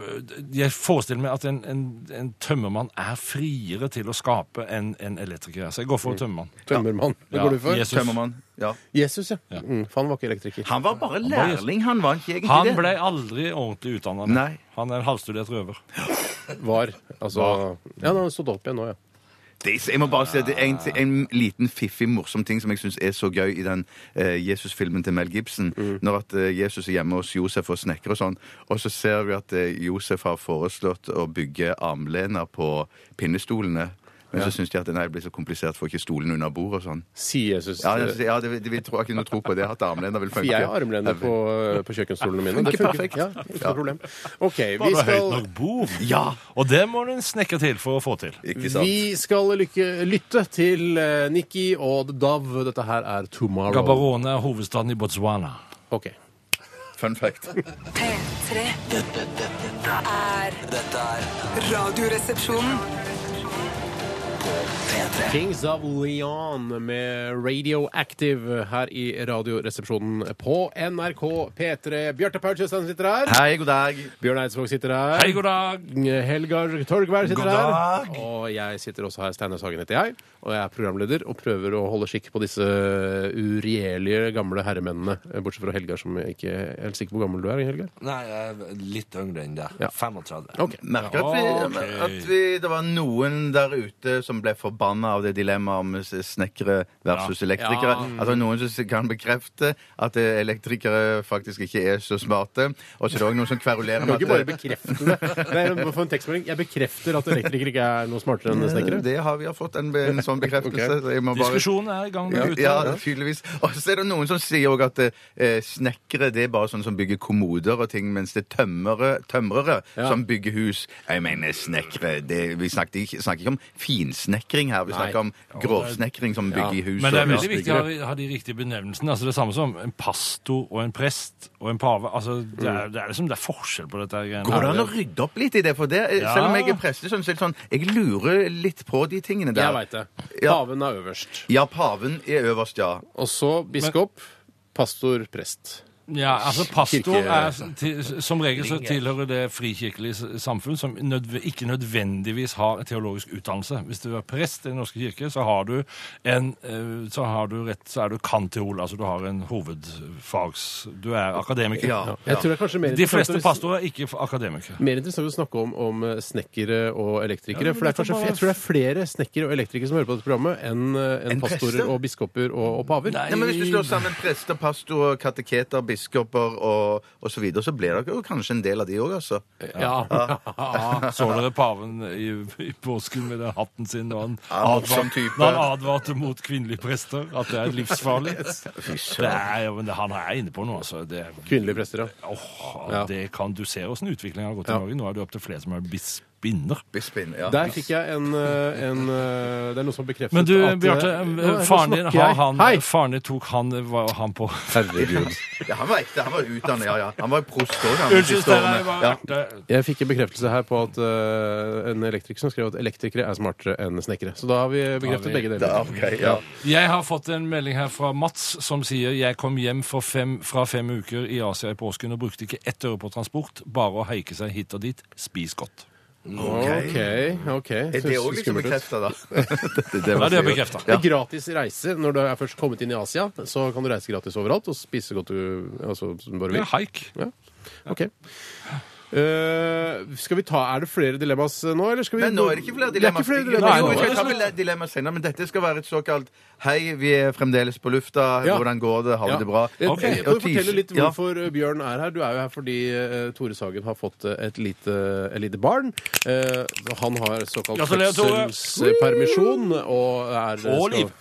Jeg forestiller meg at en, en, en tømmermann er friere til å skape enn en elektriker. Så jeg går
Mm.
for tømmermann.
Tømmermann. Hva
Ja,
går du for?
Jesus.
Tømmermann. Ja.
Jesus, ja. Mm, for han var ikke elektriker.
Han var bare lærling, han var ikke egentlig
Han
det.
ble aldri ordentlig utdannet.
Nei.
Han er en halvstudert røver.
Var. Altså Ja, nå har han stått opp igjen nå, ja.
Det, jeg må bare si at det er en, en liten fiffig, morsom ting som jeg syns er så gøy i den eh, Jesus-filmen til Mel Gibson. Når at eh, Jesus er hjemme hos Josef og snekker og sånn, og så ser vi at eh, Josef har foreslått å bygge armlener på pinnestolene. Men så syns de at nei, det blir så komplisert, får ikke stolen under bordet og sånn.
Si Jesus.
Ja, jeg, ja det, de vil tro, har ikke noe tro på det, at armlener vil
For
funke.
jeg har armlener på, eh, på kjøkkenstolene mine. Det
Funker
funker.
perfekt.
Ja, ikke
Ja.
noe problem. OK, vi
Bare høyt
skal
nok bord.
Ja!
Og det må du en snekker til for å få til.
Ikke sant?
vi skal lykke, lytte til uh, Nikki og The Dove. Dette her er Tomorrow.
Gabarone er hovedstaden i Botswana.
Ok.
Fun fact.
P3
Dette, dette, dette,
er
dette er
Radioresepsjonen.
P3.
Kings of Leon med Radioactive her i Radioresepsjonen på NRK P3. Bjarte Paul Tjøstheim sitter her.
Hei, god dag.
Bjørn Eidsvåg sitter her.
Hei, god dag!
Helgar Torgvær sitter
God
her.
dag.
Og jeg sitter også her. Steinar Sagen heter jeg. Og jeg er programleder og prøver å holde skikk på disse urierlige gamle herremennene. Bortsett fra Helgar, som jeg ikke er helt sikker på hvor gammel du er. Helgar.
Nei, jeg er litt yngre enn deg.
Ja.
35.
Ok.
Merker at, vi, at vi, det var noen der ute som ble forbanna av det dilemmaet om s- snekkere versus elektrikere.
Ja.
At det er noen som s- kan bekrefte at eh, elektrikere faktisk ikke er så smarte. Og så er det òg noen som kverulerer
Du kan
med
ikke bare
at eh,
bekrefte det. eh, [laughs] Nei, jeg må få en tekstmelding. Jeg bekrefter at elektrikere ikke er noe smartere enn snekkere.
Eh, det har vi har fått en, be- en
[laughs]
sånn bekreftelse. så jeg må bare...
Diskusjonen er i gang der ute.
Ja, tydeligvis. Og så er det noen som sier også at eh, snekkere det er bare sånne som bygger kommoder og ting, mens det er tømmere, tømrere
Ja.
som bygger hus. Jeg mener snekkere det, Vi snakker ikke, snakker ikke om finsnekring her, vi snakker om grovsnekring som bygger hus.
Men det
og-
er veldig viktig å ha, ha de riktige benevnelsene. Altså det er samme som en pastor og en prest og en pave. Altså det, er, det er liksom det er forskjell på dette. her greiene.
Går det an å rydde opp litt i det? For det, eh,
Ja.
Selv om jeg er prestesønn, så er det sånn Jeg lurer litt på de tingene der.
Jeg veit det.
Ja.
Paven er øverst.
Ja, paven er øverst, ja.
Og så biskop, pastor, prest.
Ja, altså Pastor
Kirke-
er til, som regel så tilhører det frikirkelige s- samfunn som nødv ikke nødvendigvis har teologisk utdannelse. Hvis du er prest i Den norske kirke, så har du en eh, så har du rett, så er du kanteol, altså du har en hovedfags... Du er akademiker.
Ja.
Jeg tror det er kanskje mer
De
interessant
fleste
å-
pastorer er ikke akademikere.
Mer interessant å snakke om, om eh, snekkere og elektrikere. for det er kanskje, Jeg tror det er flere snekkere og elektrikere som hører på dette programmet, enn eh, enn
Enn
pastorer
prester?
og biskoper og, og paver.
Nei.
Nei, men Hvis du slår sammen prester, pastorer, kateketer, biskoper og osv., så, videre, så blir det jo kanskje en del av de òg, altså.
Ja.
[laughs] Så dere paven i, i påsken med den hatten sin da han,
Ja, morsom
advarte,
type.
da han advarte mot kvinnelige prester? At det er livsfarlig?
[laughs]
Det
søren.
er, jo- men det, han er inne på noe, altså. Det,
Kvinnelige prester, ja.
åh,
Ja.
det kan, du ser åssen utviklingen har gått i
Ja.
Norge. Nå er det opp til flere som er bisp, bispinner.
Bispin, ja.
Der fikk jeg en, eh, en eh, Det er noe som har bekreftet
Men du,
at, eh,
Bjarte,
Nå er det- nå
faren din,
snakker
har
jeg.
han,
Hei!
faren din tok han, var han på
Herregud.
ja, han var ekte. Han var utdannet, ja, ja. Han var prost òg, han. de
Unnskyld,
siste
Steinar.
årene.
jeg bare
Ja.
hørte-
Jeg fikk en bekreftelse her på at eh, en elektriker som skrev at elektrikere er smartere enn snekkere. Så da har vi bekreftet
vi-
begge deler.
Ja, ok, ja.
Jeg har fått en melding her fra Mats som sier jeg kom hjem for fem, fra fem uker i Asia i påsken og brukte ikke ett øre på transport, bare å haike seg hit og dit. Spis godt.
OK. ok.
Er det òg liksom bekrefta, da? [laughs] det, det
Ja, det er bekreftet.
Det er gratis reise. Når du er først kommet inn i Asia, så kan du reise gratis overalt og spise godt du, altså, som du bare
Ja,
vil.
haik.
Ja. Ok. Eh, skal vi ta, Er det flere dilemmas eh, nå, eller skal vi
Men nå er det ikke flere dilemmaer.
Det er ikke flere
Nei,
dilemmaer.
jo, vi
nå.
skal ta vel dilemmaer senere, men dette skal være et såkalt Hei, vi er fremdeles på lufta.
Ja.
Hvordan går det? Har vi det bra? Eh,
Ja. Eh,
Ok.
Kan du fortelle litt
Ja.
hvorfor eh, Bjørn er her? Du er jo her fordi eh, Tore Sagen har fått eh, et lite, et lite barn. Eh, han har såkalt
Gratulerer, Tore.
fødselspermisjon. Og, er, eh,
Og Liv.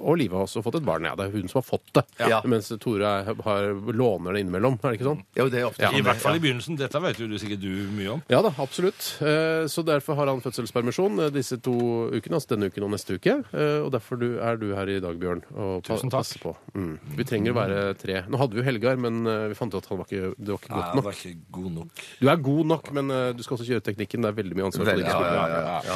og Liv har også fått et barn. Ja, det er hun som har fått det.
Ja.
Mens Tore er, har, låner det innimellom. Er det ikke sånn?
Jo, det er ofte
Ja.
I
sånn.
hvert fall i begynnelsen. Dette vet jo du sikkert du mye om.
Ja da, absolutt. Eh, Så derfor har han fødselspermisjon eh, disse to ukene, altså denne uken og neste uke. Eh, Og derfor du, er du her i dag, Bjørn. Og pa-
Tusen takk.
passer på. Mm. Vi trenger å være tre. Nå hadde vi jo Helgar, men eh, vi fant ut at han var ikke, det var ikke godt
Jeg
nok.
var ikke god nok.
Du er god nok, men eh, du skal også kjøre teknikken. Det er veldig mye ansvar. for
Veldig,
dine
ja, ja,
skuldre.
ja,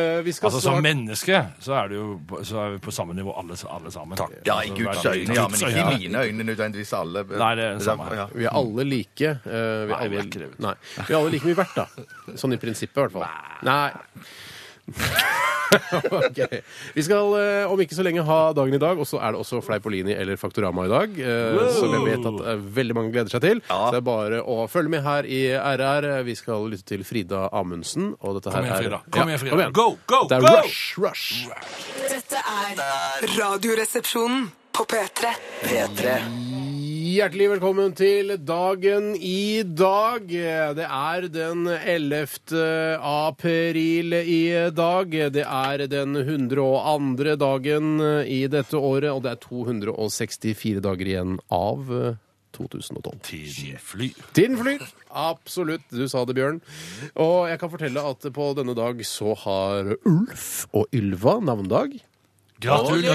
ja.
Eh, Vi skal
Altså Som
snart
menneske så er, det jo, på- så er vi på samme nivå alle, alle sammen.
Ja, i
Altså,
Guds
hver-
øyne, ja, men
Guds
ikke
øyne.
i mine øyne nødvendigvis alle.
Nei, det er det samme her.
Ja.
vi er alle like. eh, Vi er
Nei, vi er
alle,
ikke det, vet du.
nei, vi er alle like mye verdt, da. Sånn i prinsippet, i hvert fall. Nei. [laughs] Ok. Vi skal eh, om ikke så lenge ha dagen i dag, og så er det også Fleipolini eller Faktorama i dag. eh, Som jeg vet at eh, veldig mange gleder seg til. Så det er bare å følge med her i RR. Vi skal lytte til Frida Amundsen. Og dette her
Kom igjen,
er-
Frida. Kom igjen, Frida.
Kom
Go, go,
Det er
go!
Rush, Rush.
Dette er Radioresepsjonen på P3.
P3
Hjertelig velkommen til dagen i dag. Det er den 11. april i dag. Det er den 102. dagen i dette året, og det er 264 dager igjen av eh, 2012.
Tiden flyr.
Tiden flyr! Absolutt. Du sa det, Bjørn. Og jeg kan fortelle at på denne dag så har Ulf og Ylva navnedag.
Gratulerer!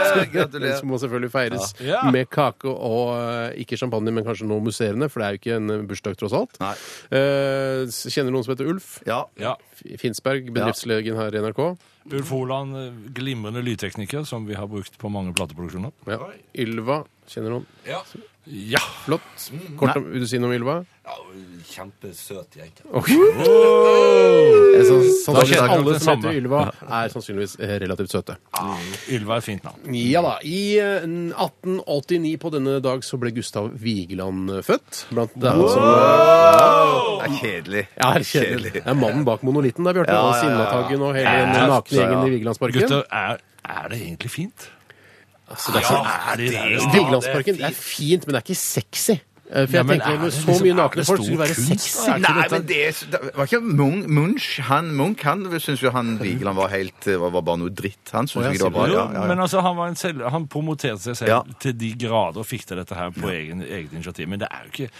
Det
[laughs] Gratulerer.
må selvfølgelig feires
Ja. Ja.
med kake og eh, ikke champagne, men kanskje noe musserende, for det er jo ikke en eh, bursdag, tross alt.
Nei.
Eh, s- kjenner noen som heter Ulf?
Ja.
Ja.
F- Finnsberg, bedriftslegen her i NRK.
Ulf Holand, eh, glimrende lydtekniker som vi har brukt på mange plateproduksjoner.
Ja. Ylva. Kjenner noen?
Ja!
Flott. Kort om, vil du si noe om Ylva?
Ja, kjempesøt jente.
[laughs]
Jeg sa-
kjenner
Sannsynligvis alle
jeg det
som heter
samme.
Ylva, er sannsynligvis eh, relativt søte.
Ylva er et fint navn.
Ja da. I eh, 1889 på denne dag så ble Gustav Vigeland eh, født. Blant dem som eh,
Det er kjedelig.
Ja, det er kjedelig. Det er mannen bak monolitten der, Bjarte.
Ja,
og
ja, ja, ja.
Sinnataggen og hele den nakne
Ja, ja.
gjengen i Vigelandsparken.
Gutter, er, er det egentlig fint?
Altså, det er
Ja,
så-
er det det?
Vigelandsparken det er fint, men det er ikke sexy. Eh, For
Ja,
jeg
men
tenker
er
med
det
så
liksom-
mye
er
nakne
det
folk skulle
stor
være
kunst,
sexy. liksom.
da? Er
Nei, men det er så- det Var ikke Munch, Munch han, Munch, han syns jo han Vigeland var helt eh, var var bare noe dritt. Han syns
ja,
ikke det var bra.
Jo,
Ja, ja, ja.
Men altså, han, var en selv, han promoterte seg selv
Ja.
til de grader og fikk til dette her på egen, eget initiativ. Men det er jo ikke,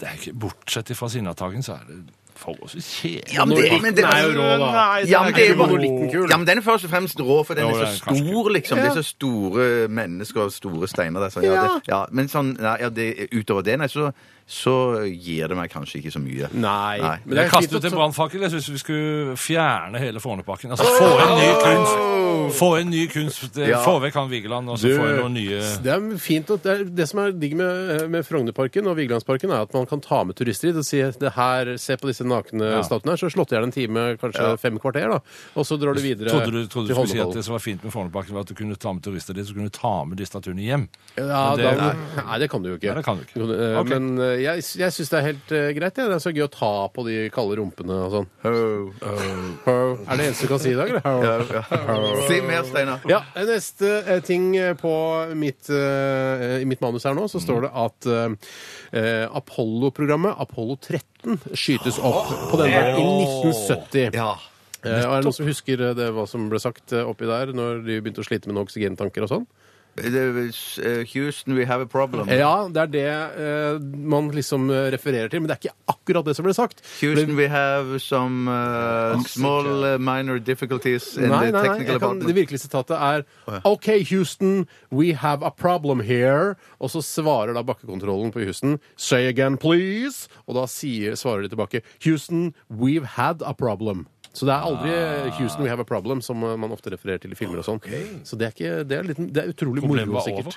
det er ikke Bortsett fra Sinnataggen, så er det forholdsvis kjedelig.
Ja, men det- men det-
Monolitten er jo rå, da.
Nei,
Ja, men, det er
ikke
bare-
monolitten kul.
ja, men den er først og fremst rå, for den
Jo,
er
det
så
er kanskje
stor, liksom. Det er så store mennesker og store steiner der. Sånn, ja, det, ja, men sånn, nei, ja, det, utover det, nei, så, så gir det meg kanskje ikke så mye.
Nei.
Nei.
Men det
Jeg
er
kastet
fint at
ut en
så-
brannfakkel. Jeg syns vi skulle fjerne hele Fornepakken. Altså, få en ny kunst. Få en ny kunst. eh,
Ja.
Få vekk han Vigeland, og så
Du-
få inn noen nye
det er fint at det, er, det som er digg med, eh, med Frognerparken og Vigelandsparken, er at man kan ta med turister dit og si det her, se på disse nakne
Ja.
statuene her, så slått i hjel en time, kanskje fem kvarter, da. Og så drar du videre
Trodde du, trodde
til
du skulle si at
Holmenkollen.
det som var fint med Fornepakken, var at du kunne ta med turister dit, så kunne du ta med de statuene hjem?
Ja,
Men det-
da, nei. det kan du jo ikke.
Nei, det kan du ikke.
Jo, det, eh,
Ok.
Men eh, jeg, jeg syns det er helt eh, greit. jeg. Det er så gøy å ta på de kalde rumpene og sånn.
Ho, ho.
Er det eneste du kan si i dag,
[laughs]
Ja,
eller?
ja. Si mer, Steinar.
Ja, Neste eh, ting eh, på mitt, eh, i mitt manus her nå, så står det at eh, Apollo-programmet, Apollo 13, skytes opp på denne dagen i 1970.
Ja.
Eh, og er det noen som husker eh, det, hva som ble sagt eh, oppi der når de begynte å slite med noen oksygentanker og sånn?
eh, Houston, we have a problem.
Ja, det er det eh, man liksom eh, refererer til, men det er ikke akkurat det som ble sagt.
Houston, we have some uh, small uh, minor difficulties in
Nei, nei,
the
nei.
technical
Jeg kan,
department.
det virkelige sitatet
Å, ja.
er OK, Houston, we have a problem here. Og så svarer da bakkekontrollen på Houston Say again, please. Og da sier, svarer de tilbake Houston, we've had a problem. Så det er aldri eh, Houston, we have a problem, som eh, man ofte refererer til i filmer og sånn. Så det er, ikke, det er, litt, det er utrolig
Problemet
moro,
var
sikkert.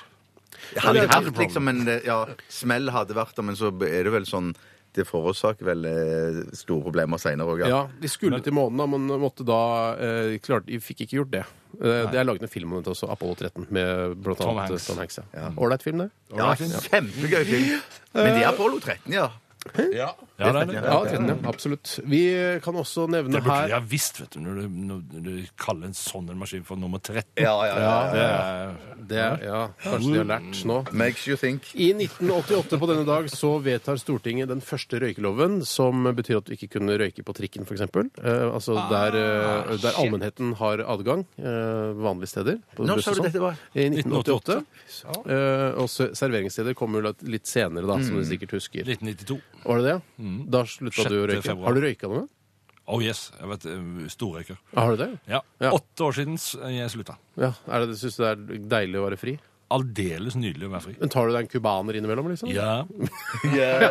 hadde
over. Ja, det er
vært
et
liksom en eh, ja, smell hadde vært der, men så er det vel sånn Det forårsaker vel eh, store problemer seinere òg, ja.
Ja, de skulle til månen, da, men måtte da eh, klarte, De fikk ikke gjort det. Eh, det er laget en film om dette også, Apollo 13, med blant
Tom
annet eh,
Hanks.
Tom Hanks. Ja. Ålreit film, det.
ja. Kjempegøy film. Men det er Apollo 13, ja.
Ja, det er det.
Ja, 13, ja. Absolutt. Vi eh, kan også nevne
Det burde
her
jeg ha visst, vet du, når du, når du kaller en sånn en maskin for nummer 13.
Ja, ja, ja.
Det er,
det, ja, Kanskje de har lært nå.
Makes you think.
I 1988 på denne dag så vedtar Stortinget den første røykeloven, som betyr at du ikke kunne røyke på trikken, f.eks. Eh, altså der, eh, der allmennheten har adgang eh, vanlige steder. på
Når
buss
sa
og
du
sånn.
dette var?
I 1988. Eh, og se- serveringssteder kommer jo litt- litt senere, da, som du sikkert husker.
1992.
Var det det? Da slutta du å
Sjette
røyke.
februar.
Har du røyka noe?
Oh yes, jeg vet, eh, storrøyker.
Har du det?
Ja.
Ja.
Åtte år siden s- eh, jeg slutta.
Ja, er det, Syns du det er deilig å være fri?
Aldeles nydelig å være fri.
Men tar du deg en cubaner innimellom, liksom?
Ja,
Du gjør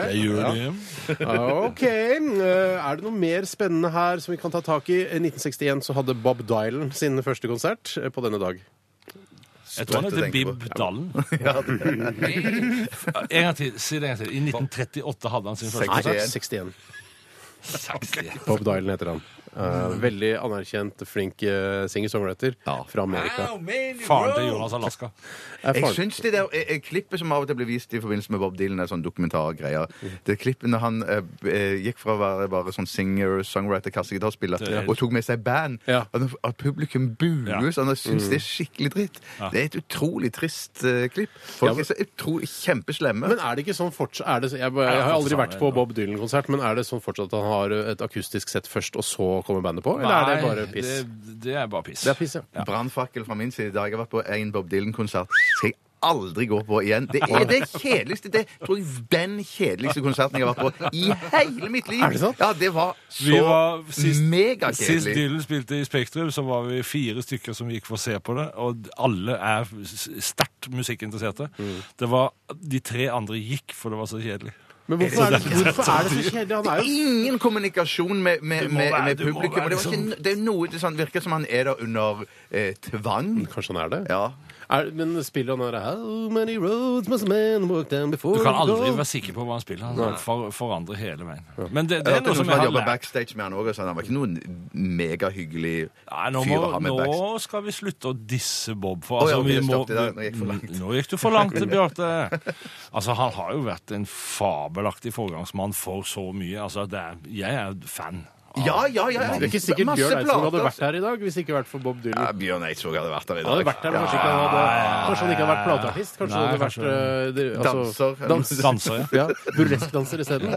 det.
jeg gjør det.
Ja, OK. Eh, Er det noe mer spennende her som vi kan ta tak i? I 1961 så hadde Bob Dylan sin første konsert eh, på denne dag.
Jeg tror han
Sprøtt å
heter
tenke på.
Bib Dalen. En gang til, Si det en gang til. I 1938 hadde han sin første
Nei.
konsert.
61. Bob Dylan heter han. Eh, veldig anerkjent, flink eh, singer-songwriter fra Amerika.
Faren til Jonas Alaska.
Er
Jeg
faren-
syns det der eh, eh, klippet som av og til ble vist i forbindelse med Bob Dylan, er sånn dokumentargreier. Det klippet når han eh, eh, gikk fra å være bare sånn singer, songwriter, kassegitarspiller
Det er-
og tok med seg band,
Ja.
at, at publikum
Ja.
buer sånn og syns det er skikkelig dritt. Det er et utrolig trist eh, klipp.
Ja,
Folk
men-
er så utrolig kjempeslemme.
Men er det ikke sånn fortsatt er det, jeg, jeg har aldri vært på Bob Dylan-konsert, men er det sånn fortsatt at han har et akustisk sett først, og så kommer bandet på? Eller er det bare piss?
Det, det er bare piss.
Det er piss, ja.
Brannfakkel fra min side. Da jeg har vært på en Bob Dylan-konsert, skal jeg aldri gå på igjen. Det er det kjedeligste Det tror jeg den kjedeligste konserten jeg har vært på i hele mitt liv.
Er det sant?
Ja, det var
Vi
så
var sist, sist
megakjedelig.
Dylan spilte i Spektrum, så var vi fire stykker som gikk for å se på det, og alle er s- sterkt musikkinteresserte.
Mm.
Det var, De tre andre gikk, for det var så kjedelig.
Men hvorfor er det, hvorfor er det så kjedelig? Han er jo
Ingen kommunikasjon med, med,
Du må
med,
være-
med
du må
publikum.
være liksom-
og Det, var ikke, det er noe det sånn, virker som han er der under eh, tvang.
Kanskje han er det?
Ja.
Er, men spiller han der How many roads must a man walk down before
Du kan
he
aldri
goes?"
være sikker på hva han spiller. Han for, forandrer hele veien. Men det, det
Det
er
er
noe
noen
som
som
jeg
hadde
har
jobbet
lært.
backstage med han òg. Han var ikke noen megahyggelig
Nei, nå,
fyr
må,
å ha med backstage.
nå skal vi slutte å disse Bob. For,
Å, ja,
altså,
ok,
vi
stopp
må,
det der. Nå gikk jeg for langt.
Nå gikk du for
[laughs]
langt, Bjarte. Altså, han har jo vært en fabelaktig foregangsmann for så mye. Altså, det er, jeg er fan. av-
Ja, ja, ja.
Det er ikke sikkert
Masse
Bjørn Eidsvåg hadde
plater.
vært her i dag hvis det ikke hadde vært for Bob Dylan.
Ja, Bjørn Eidsvåg hadde vært der i dag.
Han hadde vært her, men kanskje, ikke han hadde, kanskje han ikke hadde vært plateartist? Kanskje han
Nei,
hadde vært
kanskje.
eh, det- altså,
Danser.
[laughs] dans-
Danser,
ja.
ja.
Burleskdanser isteden.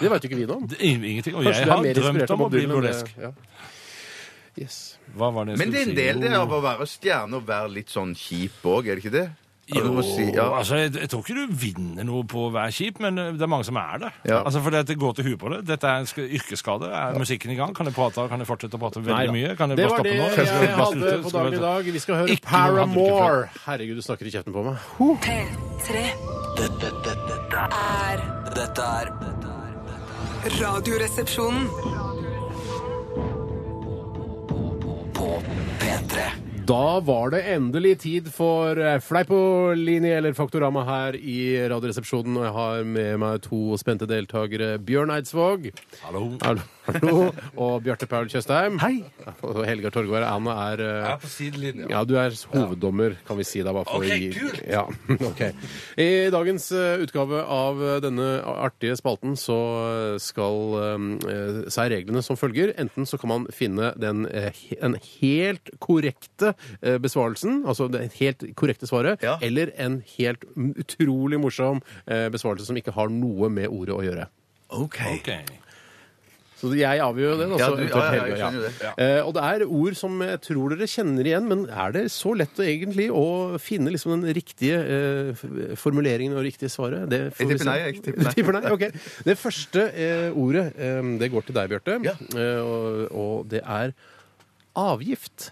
Det veit jo ikke vi noe om.
Det er Ingenting. Og
Kanskje
jeg
du er
har
mer
drømt
inspirert av
om å
Bob
bli
Dylan. enn det-
burlesk.
Ja. Yes.
Hva var det jeg
Men det er en
skulle
del
si?
det av å være stjerne og være litt sånn kjip òg, er det ikke det? At du
Jo,
må si- ja.
altså, jeg, jeg tror ikke du vinner noe på å være kjip, men eh, det er mange som er det.
Ja.
Altså, for det, at det går til huet på det. Dette er en sk- yrkesskade. Er musikken i gang? Kan jeg prate, kan jeg fortsette å prate veldig
Nei da.
mye? Kan jeg
Det
bare
var
stoppe
det
nå?
jeg
Skal jeg bare
hadde
slutte?
på
Skal jeg
dagen i
bare-
dag. Vi skal høre
Ikke noe handler ikke
Paramore. Herregud, du snakker i kjeften på meg. Ho!
P3
Dette, dette, dette, er-
er
dette er dette er- dette er
Radioresepsjonen.
På P3
Da var det endelig tid for eh, Fleipolinje eller Faktorama her i Radioresepsjonen. Og jeg har med meg to spente deltakere. Bjørn Eidsvåg.
Hallo.
Hallo. Hallo. Og Bjarte Paul Tjøstheim.
Hei.
Og Helgar Torgvær. Anna er eh,
på sidelinja.
ja, du er hoveddommer, kan vi si da. Bare for
Ok,
å gi...
kult!
Ja, [laughs] ok. I dagens eh, utgave av eh, denne artige spalten så eh, skal eh, så er reglene som følger. Enten så kan man finne den, eh, he- en helt korrekte eh, besvarelsen, altså det helt korrekte svaret,
Ja.
eller en helt m- utrolig morsom eh, besvarelse som ikke har noe med ordet å gjøre.
OK.
Ok.
Så jeg avgjør jo det. da,
Ja,
så
du- ja,
eventuelt
ja, jeg
Helga,
skjønner det.
Eh, og det er ord som jeg tror dere kjenner igjen, men er det så lett å egentlig å finne liksom den riktige eh, f- formuleringen og riktige svaret? Det får
Jeg
vi
tipper
se.
nei, jeg tipper
[laughs]
nei.
Du tipper nei, ok. Det første eh, ordet, eh, det går til deg, Bjarte,
Ja.
eh, og, og det er avgift.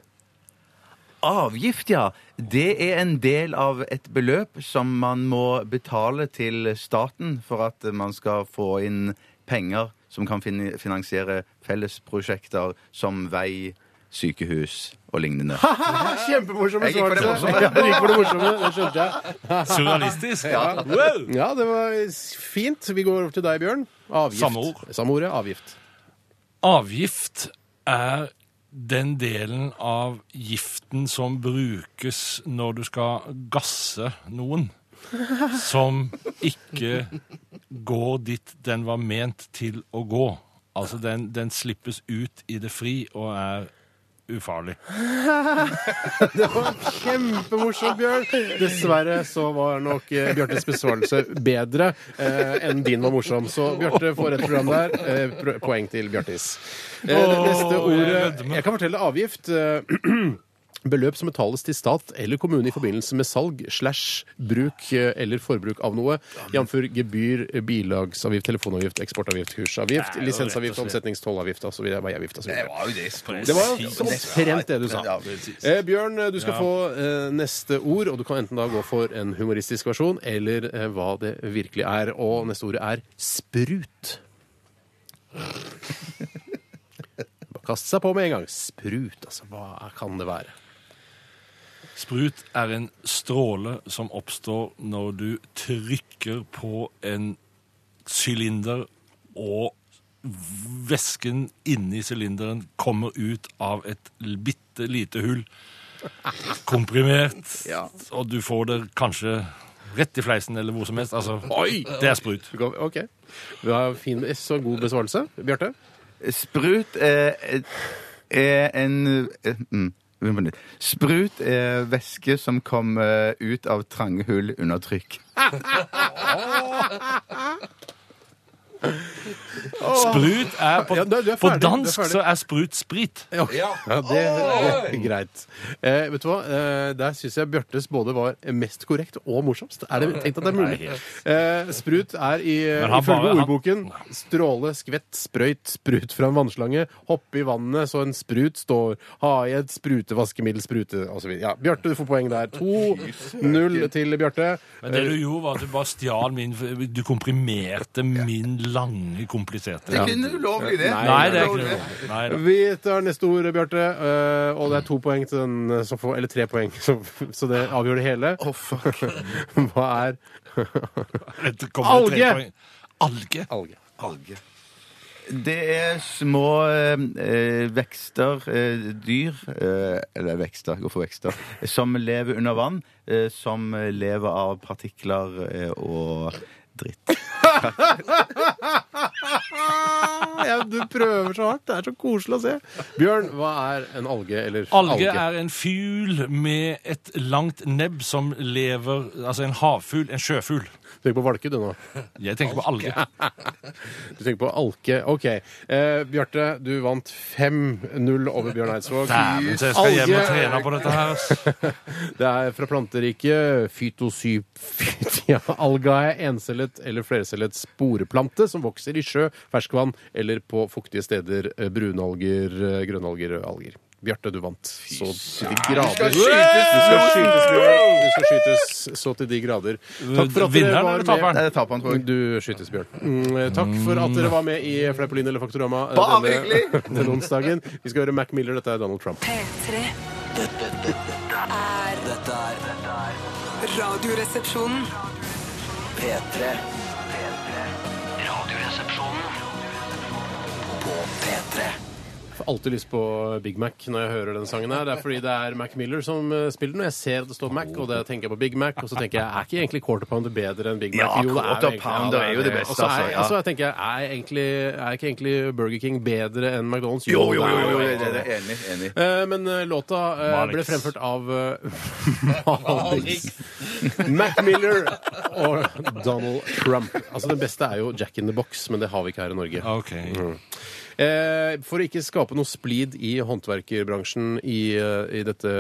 Avgift, ja. Det er en del av et beløp som man må betale til staten for at man skal få inn penger som kan fin- finansiere fellesprosjekter som vei, sykehus og lignende.
Kjempemorsomme
Ah, Jeg gikk for det
svar,
morsomme.
[laughs] Ja, du gikk for det morsomme, det skjønte jeg.
Surrealistisk. Wow!
Ja, det var s- fint. Vi går over til deg, Bjørn. Avgift.
Samme ord.
Samme ordet, avgift.
Avgift er den delen av giften som brukes når du skal gasse noen, som ikke går dit den var ment til å gå. Altså, den, den slippes ut i det fri og er ufarlig.
[laughs] Det var kjempemorsomt, Bjørn. Dessverre så var nok eh, Bjartes besvarelse bedre eh, enn din var morsom. Så Bjarte får et program der. Eh, pro- poeng til Bjartis. Eh, det neste
Åh, jeg
ordet
gleder meg.
Jeg kan fortelle avgift. Eh, [clears throat] Beløp som betales til stat eller kommune i forbindelse med salg, slash, bruk eh, eller forbruk av noe, jf. gebyr, eh, bilagsavgift, telefonavgift, eksportavgift, kursavgift,
Nei, det var rett og
lisensavgift,
slett.
omsetningstollavgift altså, osv. Veiavgift osv.
var jo det.
Det var omtrent det du sa.
Ja,
Eh, Bjørn, du skal få eh, neste ord, og du kan enten da gå for en humoristisk versjon eller eh, hva det virkelig er. Og neste ordet er sprut. Bare Kaste seg på med en gang. Sprut, altså. Hva kan det være?
Sprut er en stråle som oppstår når du trykker på en sylinder, og væsken inni sylinderen kommer ut av et l- bitte lite hull. Komprimert, og du får det kanskje rett i fleisen eller hvor som helst. Altså, det er sprut.
Du kan- OK. Du har fin, så god besvarelse. Bjarte?
Sprut er, er en eh, mm, vi må på nytt. Sprut er væske som kommer ut av trange hull under trykk.
Sprut er På,
Ja, du- du er
på
ferdig, du er
dansk
ferdig.
så er sprut sprit.
Ja, ja det, det er greit. Eh, vet du hva? Eh, der syns jeg Bjørtes både var mest korrekt og morsomst. Er det tenkt at det er mulig? Eh, sprut er i,
Men han
ifølge
bare- han-
ordboken stråle, skvett, sprøyt, sprut fra en vannslange, hoppe i vannet så en sprut står, ha i et sprutevaskemiddel, sprute osv. Ja, Bjarte, du får poeng der. 2-0 til Bjarte.
Men det du gjorde, var at du bare stjal min Du komprimerte min lange, kompliserte
Det er ikke ulovlig, det.
Nei, det er ikke noe. Nei, da.
Vi tar neste ord, Bjarte. eh, og det er to poeng til den eh, som får Eller tre poeng, [laughs] så, så det avgjør det hele.
Å, fuck.
[laughs] Hva er
[laughs] Dette kommer det tre
Alge!
poeng. Alge.
alge?
Det er små eh, vekster, eh, dyr eh, Eller vekster, jeg går for vekster. Som lever under vann. Eh, som lever av partikler eh, og dritt.
[laughs] Ja, du prøver så hardt. Det er så koselig å se. Bjørn, hva er en alge eller
Alge er en fugl med et langt nebb som lever Altså en havfugl, en sjøfugl.
Du tenker på valke, du nå.
Jeg tenker på alge.
Du tenker på alke. OK. Eh, Bjarte, du vant 5-0 over Bjørn Eidsvåg.
Dæven, så jeg skal hjem og
Alge.
trene på dette her. ass.
Det er fra planteriket [laughs] fytosyphytia algae, encellet eller flercellet sporeplante som vokser i sjø, ferskvann eller på fuktige steder. eh, Brunalger, eh, grønnalger, og alger. Bjarte, du vant. Så til de grader. Du skal skytes, Bjørn. Du skal skytes så til de grader. Takk for at dere
Vinneren
var
eller taperen?
med.
Nei, det taper han, tror jeg.
Du skytes, Bjørn. Mm, eh, takk for at dere var med i Fleipolin eller Faktorama eh,
Bare
denne, [laughs] denne onsdagen. Vi skal høre Mac Miller. Dette er Donald Trump.
P3
Dette, dette, dette er Dette er dette er
Radioresepsjonen
P3. P3. Radioresepsjonen. På P3.
får alltid lyst på Big Mac når jeg hører den sangen her. Det er fordi det er Mac Miller som eh, spiller den, og jeg ser at det står Mac, og da tenker jeg på Big Mac, og så tenker jeg er ikke egentlig quarter pounder bedre enn Big Mac?
Ja,
jo, det er jo
quarter
egentlig-
pounder er jo det beste,
Og så
altså,
er,
ja.
altså, jeg tenker, er, egentlig, er ikke egentlig Burger King bedre enn McDonald's?
Jo, jo, jo,
det er
jo, jo,
egentlig
det det er enig. enig.
Eh, Men eh, låta eh, ble
Malix.
fremført av eh, [laughs] Malix. Mac Miller og Donald Trump. Altså Den beste er jo Jack in the Box, men det har vi ikke her i Norge.
Ok.
Eh, For å ikke skape noe splid i håndverkerbransjen i, eh, i dette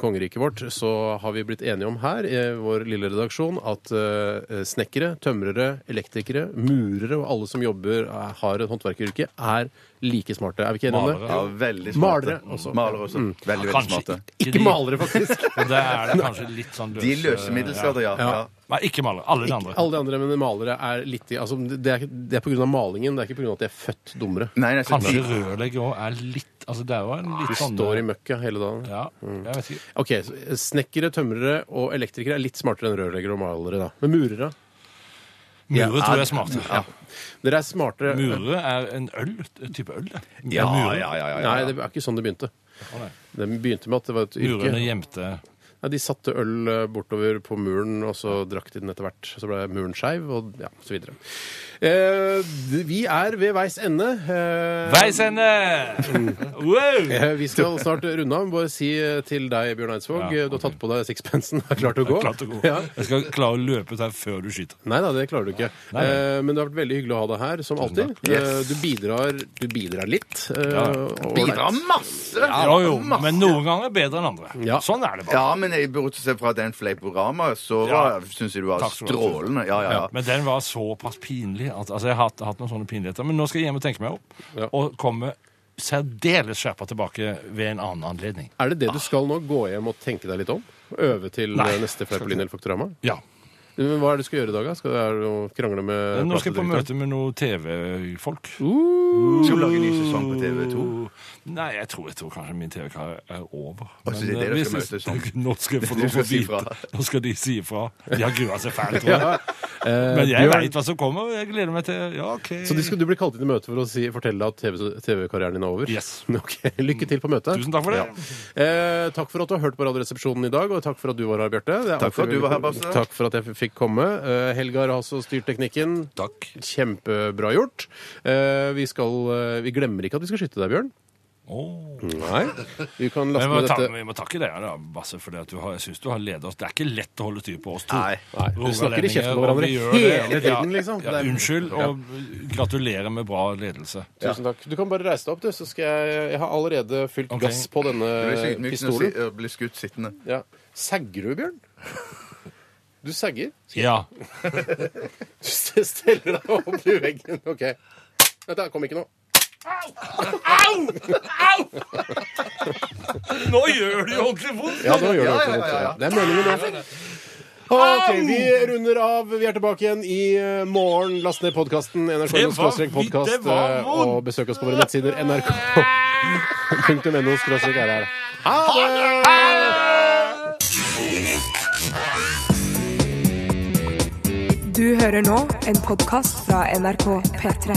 kongeriket vårt, så har vi blitt enige om her i vår lille redaksjon at eh, snekkere, tømrere, elektrikere, murere og alle som jobber eh, har et håndverkeryrke, er like smarte. Er vi ikke enige om det?
Ja,
Malere.
veldig smarte. Mm.
Malere også. Mm.
Malere også. Veldig, veldig
Kanskje
smarte.
Ikke
de.
malere,
[laughs]
faktisk.
Og der er det kanskje litt sånn løse
De løse middelskader, ja. ja.
Nei, ikke malere. Alle de andre.
Alle de andre, men malere er litt i- altså, det, er, ikke- det er på grunn av malingen, det er ikke på grunn av at de er født dummere.
Nei, nei, så
Kanskje
de,
rørlegger òg er litt Altså, det er jo en
Du
litt sånn
står i møkka hele dagen.
Ja, jeg vet ikke.
Ok, så Snekkere, tømrere og elektrikere er litt smartere enn rørleggere og malere. da. Men murere?
Murer tror jeg er smarte.
Dere er smartere
Mure er en øl, en type øl. det.
ja,
Murer.
ja, ja, ja, ja.
Nei, det er ikke sånn det begynte.
Å, nei.
Det begynte med at det var et
Murerne
yrke.
gjemte
Nei, de satte øl eh, bortover på muren, og så drakk de den etter hvert. Så ble muren skeiv, og ja, så videre. Eh, d- vi er ved veis ende. Eh,
Veis ende! Wow!
Eh, Vi skal snart runde av. men Bare si eh, til deg, Bjørn Eidsvåg,
Ja,
eh, du har tatt på deg sixpensen. [laughs] Er klar til å gå?
Klart det går.
Ja.
Jeg skal klare å løpe ut her før du skyter.
Nei da, det klarer du ikke.
Nei, nei.
Eh, Men det har vært veldig hyggelig å ha deg her, som alltid.
takk.
Eh, Du bidrar, du bidrar litt. eh, og-
bidrar masse!
Jo, jo,
masse.
men noen ganger bedre enn andre.
Ja.
Sånn er det bare.
Ja, men jeg burde se fra den fleiporama, så
Ja.
syns jeg du var
Takk skal du ha.
strålende. Ja, ja, ja.
Men den var såpass pinlig. At, altså, jeg har hatt, hatt noen sånne pinligheter. Men nå skal jeg hjem og tenke meg opp,
Ja.
og komme særdeles skjerpa tilbake ved en annen anledning.
Er det det du skal nå? Gå hjem og tenke deg litt om? Øve til
Nei.
eh, neste Fleipolin eller Faktorama?
Ja.
Men Hva er det du skal gjøre i dag, da? Skal du er det å krangle med Uh!
Eh, Nå skal jeg på
platedirektøren?
møte med noen TV-folk.
Skal du lage en ny sesong på TV2?
Nei, jeg tror, jeg tror kanskje min TV-karriere er over.
Og så sier
eh,
dere
hvis
skal
jeg-
møtes sånn.
[laughs] Nå skal jeg få
Du
lov å
skal si
vite.
fra.
Nå skal de si ifra. De har grua seg fælt, tror jeg.
Eh,
Men jeg
Bjørn,
veit hva som kommer. og Jeg gleder meg til Ja, OK.
Så de skal, du blir kalt inn i møte for å si, fortelle deg at TV TV-karrieren din er over?
Yes.
[laughs] Ok, Lykke til på møtet.
Tusen takk for det.
Eh, takk for at du har hørt på Radioresepsjonen i dag, og takk for at du var her, Bjarte. Det er
Takk for at
alltid
du var her,
veldig-
Basse.
Takk for at jeg f- fikk komme. Eh, Helgar har også styrt teknikken.
Takk.
Kjempebra gjort. Eh, vi, skal, eh, vi glemmer ikke at vi skal skyte deg, Bjørn.
Åh.
Nei. Vi kan
Men
laste
vi må,
ned
ta,
dette.
vi må takke deg, da, Basse, for det at du har, jeg syns du har ledet oss. Det er ikke lett å holde styr på oss to.
Nei.
Nei, vi snakker i kjeften på
Rogalendinger, og
hverandre
vi gjør
hele
det.
tiden, liksom.
Ja,
Det er-
unnskyld, og gratulerer med bra ledelse.
Tusen takk. Du kan bare reise deg opp, du, så skal jeg Jeg har allerede fylt
Ok.
gass på
Det blir så
denne
ydmykt når
pistolen.
du blir skutt sittende.
Ja. Sagger du, [laughs] Bjørn? Du sagger.
Ja.
Du steller deg opp i veggen. OK. Nei, der kom ikke noe.
Nå gjør det jo ordentlig vondt!
Ja, nå gjør det
Ja,
også
ja, ja, ja.
vondt. Det er meningen, det. OK, vi runder av. Vi er tilbake igjen i eh, morgen. Last ned podkasten
Det var vidt, det
nrk.no-podkast.
var
eh,
vondt.
Og besøk oss på våre nettsider [laughs] nrk.no-rr. Ha det!
Du hører nå en podkast fra NRK P3.